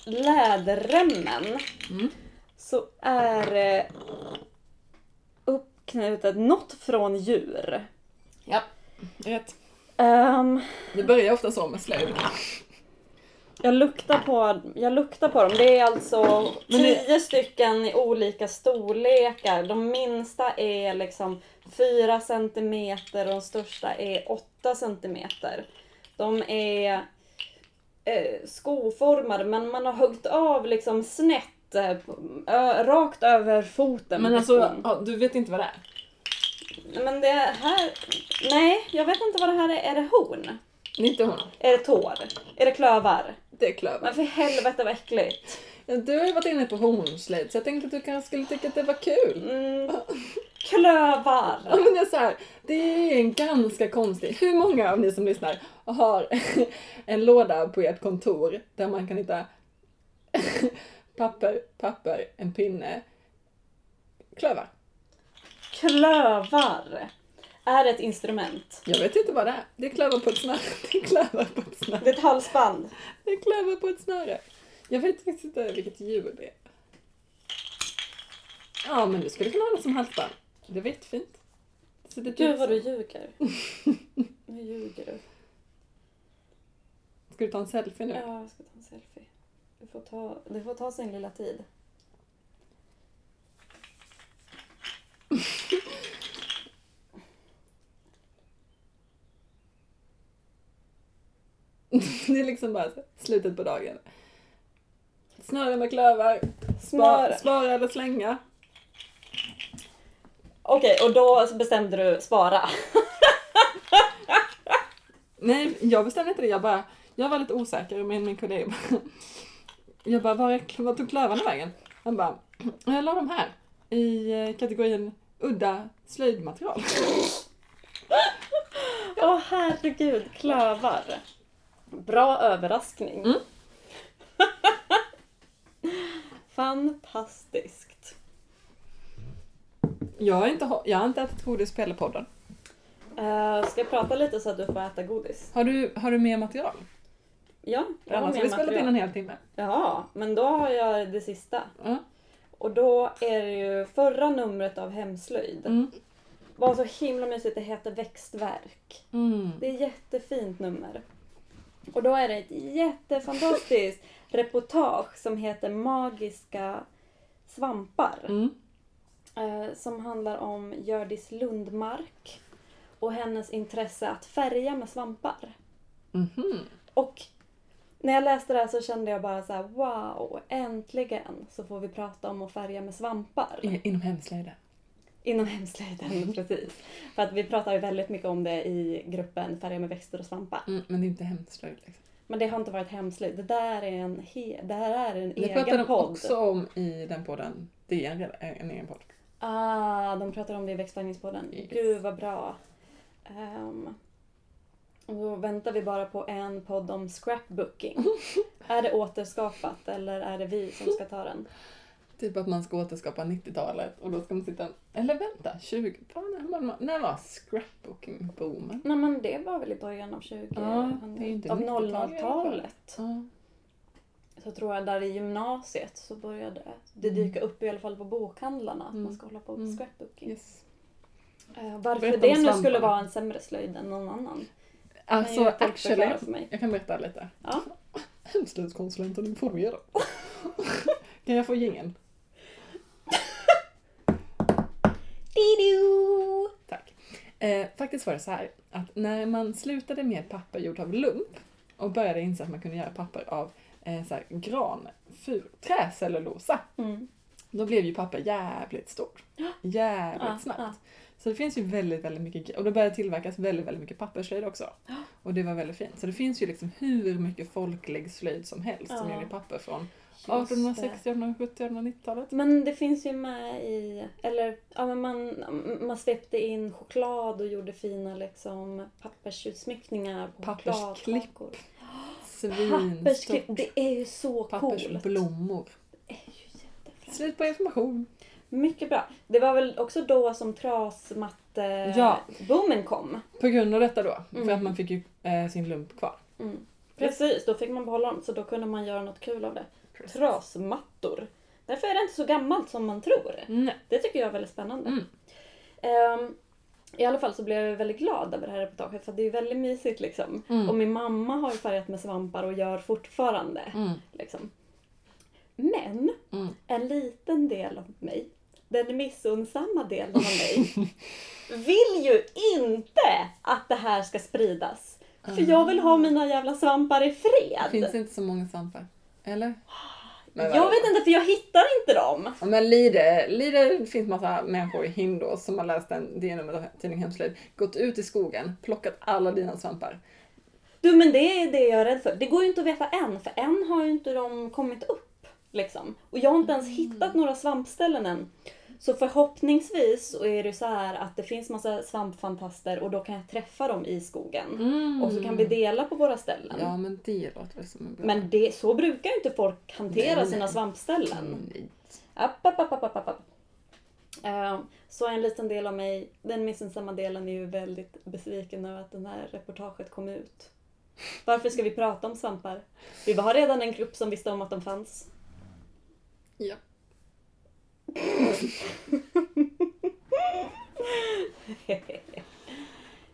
Speaker 3: läderremmen
Speaker 4: Mm.
Speaker 3: så är det uppknutet något från djur.
Speaker 4: Rätt.
Speaker 3: Ehm,
Speaker 2: Det börjar ofta så med slöjd.
Speaker 3: jag, luktar på, jag luktar på dem. Det är alltså
Speaker 4: Men det-
Speaker 3: tio stycken i olika storlekar. De minsta är liksom 4 centimeter och de största är 8 centimeter. De är eh, skoformade men man har huggit av liksom snett, eh, ö, rakt över foten.
Speaker 4: Men
Speaker 3: på
Speaker 4: alltså,
Speaker 3: skon.
Speaker 4: ja, du vet inte vad det är?
Speaker 3: Men det här... Nej, jag vet inte vad det här är. Är det horn?
Speaker 4: Det är inte hon.
Speaker 3: Är det tår? Är det klövar?
Speaker 2: Det är klöver.
Speaker 3: Men för helvete vad äckligt.
Speaker 2: Du har ju varit inne på hornslöjd så jag tänkte att du kanske skulle tycka att det var kul.
Speaker 3: Mm. Klövar!
Speaker 2: Ja men det är så här, det är en ganska konstig. Hur många av ni som lyssnar har en låda på ert kontor där man kan hitta papper, papper, en pinne, klövar?
Speaker 3: Klövar är ett instrument.
Speaker 2: Jag vet inte vad det är. Det är klövar på ett snöre. Det är klövar på ett snöre.
Speaker 3: Det är ett halsband.
Speaker 2: Det är klövar på ett snöre. Jag vet faktiskt inte vilket djur det är. Ja, men du skulle kunna ha det som halsband. Det var jättefint. Så det typ
Speaker 3: Gud vad du ljuger. Nu ljuger du.
Speaker 2: Ska du ta en selfie nu?
Speaker 3: Ja, jag ska ta en selfie. Du får ta, du får ta sin lilla tid.
Speaker 2: Det är liksom bara så, slutet på dagen. Snöre med klövar. Spara,
Speaker 3: Snöre.
Speaker 2: spara eller slänga.
Speaker 3: Okej, och då bestämde du spara.
Speaker 2: Nej, jag bestämde inte det. Jag bara, jag var lite osäker men min kollega bara, Jag bara, var, är- var tog klövarna vägen? Han bara, jag la dem här. I eh, kategorin udda slöjdmaterial.
Speaker 3: Åh herregud, klövar. Bra överraskning.
Speaker 2: Mm.
Speaker 3: Fantastiskt.
Speaker 2: Jag har inte, ho- jag har inte ätit godis på hela podden.
Speaker 3: Eh, ska jag prata lite så att du får äta godis?
Speaker 2: Har du, har du mer material?
Speaker 3: Ja, jag har
Speaker 2: Annars
Speaker 3: mer
Speaker 2: har vi spelat in
Speaker 3: material.
Speaker 2: en hel timme.
Speaker 3: Ja, men då har jag det sista.
Speaker 2: Ja.
Speaker 3: Och då är det ju förra numret av Hemslöjd.
Speaker 2: Mm.
Speaker 3: Var så himla mysigt, det heter Växtverk.
Speaker 2: Mm.
Speaker 3: Det är ett jättefint nummer. Och då är det ett jättefantastiskt reportage som heter Magiska svampar.
Speaker 2: Mm.
Speaker 3: Eh, som handlar om Hjördis Lundmark och hennes intresse att färga med svampar.
Speaker 2: Mhm.
Speaker 3: Och när jag läste det här så kände jag bara så här: wow, äntligen så får vi prata om att färga med svampar.
Speaker 2: I- Inom hemslöjden.
Speaker 3: Inom
Speaker 2: Mm.
Speaker 3: hemslöjden, precis. För att vi pratar ju väldigt mycket om det i gruppen Färga med växter och svampar.
Speaker 2: Mm, men det är inte hemslöjd. Liksom.
Speaker 3: Men det har inte varit hemslöjd. Det där är en, he- det här är en
Speaker 2: Det pratar
Speaker 3: egen
Speaker 2: de
Speaker 3: podd.
Speaker 2: också om i den podden. Det är en, re- en egen podd.
Speaker 3: Ah, de pratar om det i växtfärgningspodden.
Speaker 2: Yes.
Speaker 3: Gud vad bra. Ehm, och då väntar vi bara på en podd om scrapbooking. är det återskapat eller är det vi som ska ta den?
Speaker 2: Typ att man ska återskapa 90-talet och då ska man sitta... Eller vänta, 20... Fan, När, man, när var scrapbooking-boomen?
Speaker 3: Nej men det var väl i början av 20...
Speaker 2: Ja, det är ju inte
Speaker 3: av
Speaker 2: 90-talet i alla fall.
Speaker 3: 00-talet.
Speaker 2: Ja.
Speaker 3: så tror jag där i gymnasiet så började det dyka upp i alla fall på bokhandlarna att
Speaker 2: Mm.
Speaker 3: man ska hålla på med
Speaker 2: Mm.
Speaker 3: scrapbooking.
Speaker 2: Yes.
Speaker 3: Eh, varför
Speaker 2: Berätta om
Speaker 3: det nu
Speaker 2: svamparna.
Speaker 3: skulle vara en sämre slöjd än någon annan.
Speaker 2: Alltså,
Speaker 3: ju folk förklara
Speaker 2: actually,
Speaker 3: för mig.
Speaker 2: jag kan berätta lite.
Speaker 3: Ja.
Speaker 2: Hemslöjdskonsulenten informerar. kan jag få jingeln?
Speaker 3: Didu!
Speaker 2: Tack. Eh, faktiskt var det så här att när man slutade med papper gjort av lump och började inse att man kunde göra papper av eh, så här, gran, fur, träcellulosa,
Speaker 3: Mm.
Speaker 2: då blev ju papper jävligt stort. Jävligt
Speaker 3: Ja,
Speaker 2: snabbt.
Speaker 3: ja.
Speaker 2: Så det finns ju väldigt, väldigt mycket gre- och det började tillverkas väldigt, väldigt mycket pappersslöjd också. Och det var väldigt fint. Så det finns ju liksom hur mycket folklig slöjd som helst som
Speaker 3: Ja.
Speaker 2: gjorde papper från
Speaker 3: Just det.
Speaker 2: 1860, 1870, 1890-talet.
Speaker 3: Men det finns ju med i, eller ja men man, man svepte in choklad och gjorde fina liksom pappersutsmyckningar på
Speaker 2: Pappersklipp.
Speaker 3: chokladkakor. Pappersklipp,
Speaker 2: Svinstort.
Speaker 3: det är ju så coolt.
Speaker 2: Pappersblommor.
Speaker 3: Det är ju jättefränt.
Speaker 2: Slut på information.
Speaker 3: Mycket bra. Det var väl också då som trasmatte
Speaker 2: Ja.
Speaker 3: boomen kom?
Speaker 2: På grund av detta då,
Speaker 3: Mm.
Speaker 2: för att man fick ju eh, sin lump kvar.
Speaker 3: Mm. Precis, då fick man behålla dem så då kunde man göra något kul av det. Trasmattor. Därför är det inte så gammalt som man tror.
Speaker 2: Nej.
Speaker 3: Det tycker jag är väldigt spännande.
Speaker 2: Mm.
Speaker 3: Ehm, I alla fall så blev jag väldigt glad över det här reportaget för det är ju väldigt mysigt liksom.
Speaker 2: Mm.
Speaker 3: Och min mamma har ju färgat med svampar och gör fortfarande.
Speaker 2: Mm.
Speaker 3: Liksom. Men
Speaker 2: Mm.
Speaker 3: en liten del av mig, den missunnsamma delen av mig, vill ju inte att det här ska spridas. För jag vill ha mina jävla svampar i fred.
Speaker 2: Ah. Finns det inte så många svampar? Eller? Men
Speaker 3: Jag
Speaker 2: vadå?
Speaker 3: vet inte för jag hittar inte dem.
Speaker 2: Ja, Men Lide, Lide det finns massa människor i Hindås som har läst en DN-nummer av tidningen Hemslöjd, gått ut i skogen, plockat alla dina svampar.
Speaker 3: Du men det är det jag är rädd för. Det går ju inte att veta än för än har ju inte de kommit upp. Liksom. Och jag har inte ens
Speaker 2: Mm.
Speaker 3: hittat några svampställen än. Så förhoppningsvis så är det så här att det finns massa svampfantaster och då kan jag träffa dem i skogen. Och så kan vi dela på våra ställen.
Speaker 2: Mm. Ja men det låter väl som en bra...
Speaker 3: Men det, så brukar ju inte folk hantera
Speaker 2: Nej,
Speaker 3: sina
Speaker 2: nej.
Speaker 3: svampställen.
Speaker 2: Mm.
Speaker 3: App, app, app, app, app, app, app. Eh, Så en liten del av mig, den missunnsamma delen, är ju väldigt besviken över att det här reportaget kom ut. Varför ska vi prata om svampar? Vi har redan en grupp som visste om att de fanns.
Speaker 2: Ja.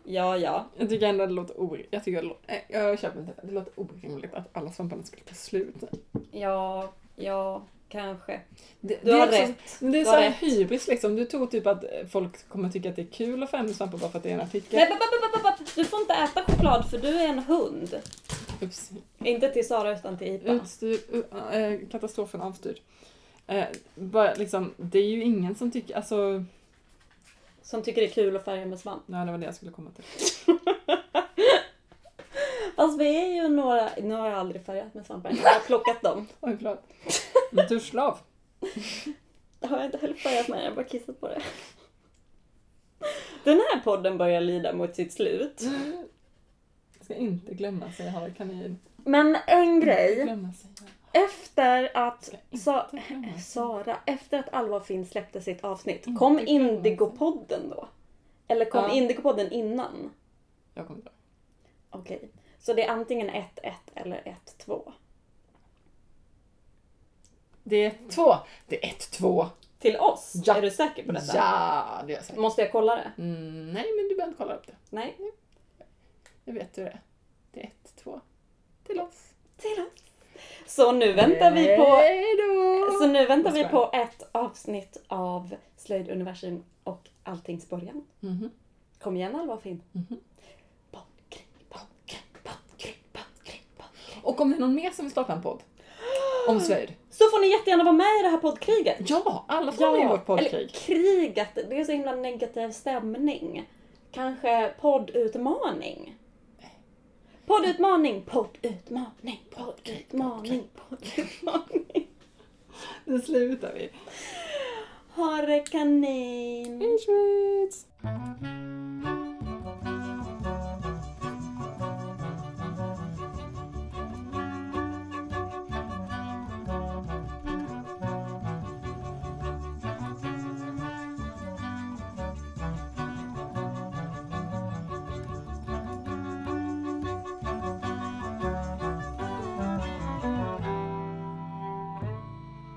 Speaker 3: ja, ja.
Speaker 2: Jag tycker ändå det låter orimligt. Jag, tycker det lå- Nej, jag köper inte det. Det låter orimligt att alla svamparna skulle ta slut.
Speaker 3: Ja, ja, kanske.
Speaker 2: Det,
Speaker 3: Du
Speaker 2: det
Speaker 3: har
Speaker 2: är också-
Speaker 3: rätt.
Speaker 2: Men Det är
Speaker 3: Du
Speaker 2: så
Speaker 3: har
Speaker 2: här
Speaker 3: rätt.
Speaker 2: hybris liksom. Du tror typ att folk kommer tycka att det är kul att få hem svampar bara för att det är en artikel.
Speaker 3: Nej, ba, ba, ba, ba, ba. Du får inte äta choklad för du är en hund.
Speaker 2: Ups.
Speaker 3: Inte till Sara utan till Ipa.
Speaker 2: Utstyr, u- eh, katastrofen avstyrd. Eh, bara, liksom, det är ju ingen som tycker, alltså,
Speaker 3: Som tycker det är kul att färga med svamp.
Speaker 2: nej det var det jag skulle komma till.
Speaker 3: Fast vi är ju några, nu har jag aldrig färgat med svampar, jag har plockat dem.
Speaker 2: Oj förlåt. Men Turslav.
Speaker 3: Det har jag inte heller färgat med, jag har bara kissat på det. Den här podden börjar lida mot sitt slut.
Speaker 2: Jag ska inte glömma säger Harald Kanin.
Speaker 3: Men en grej,
Speaker 2: Glömma sig. Jag
Speaker 3: efter att Sa-
Speaker 2: ska glömma sig.
Speaker 3: Sara, efter att Alva och Finn släppte sitt avsnitt, kom
Speaker 2: Inte glömma.
Speaker 3: Indigopodden då? Eller kom
Speaker 2: Ja.
Speaker 3: Indigopodden innan?
Speaker 2: Jag kommer inte ihåg.
Speaker 3: Okej. Så det är antingen 1-1 eller 1-2.
Speaker 2: Det är två. Det är ett, två.
Speaker 3: Till oss?
Speaker 2: Ja.
Speaker 3: Är du säker på detta?
Speaker 2: Ja, det är jag säker.
Speaker 3: Måste jag kolla det?
Speaker 2: Mm, nej men du behöver inte kolla upp det.
Speaker 3: Nej.
Speaker 2: Jag vet hur det är. Det är ett, två. Till oss.
Speaker 3: Till oss. Så nu väntar vi på Alltså-
Speaker 2: Hejdå!
Speaker 3: Så nu väntar
Speaker 2: Vad
Speaker 3: vi
Speaker 2: ska
Speaker 3: på ett avsnitt av Slöjduniversum och Alltings början.
Speaker 2: Mhm.
Speaker 3: Kom igen Alva och Finn.
Speaker 2: Mhm.
Speaker 3: Bonkring, bonkring, bonkring, bonkring, bonkring.
Speaker 2: Och om det är någon mer som vill starta en podd om slöjd.
Speaker 3: Så får ni jättegärna vara med i det här poddkriget.
Speaker 2: Ja, alla får vara med i vårt
Speaker 3: Eller
Speaker 2: poddkrig.
Speaker 3: kriget, det är så himla negativ stämning. Kanske poddutmaning? Poddutmaning, poddutmaning, poddutmaning, poddutmaning.
Speaker 2: Nu slutar vi.
Speaker 3: Har kanin.
Speaker 2: Hej svej!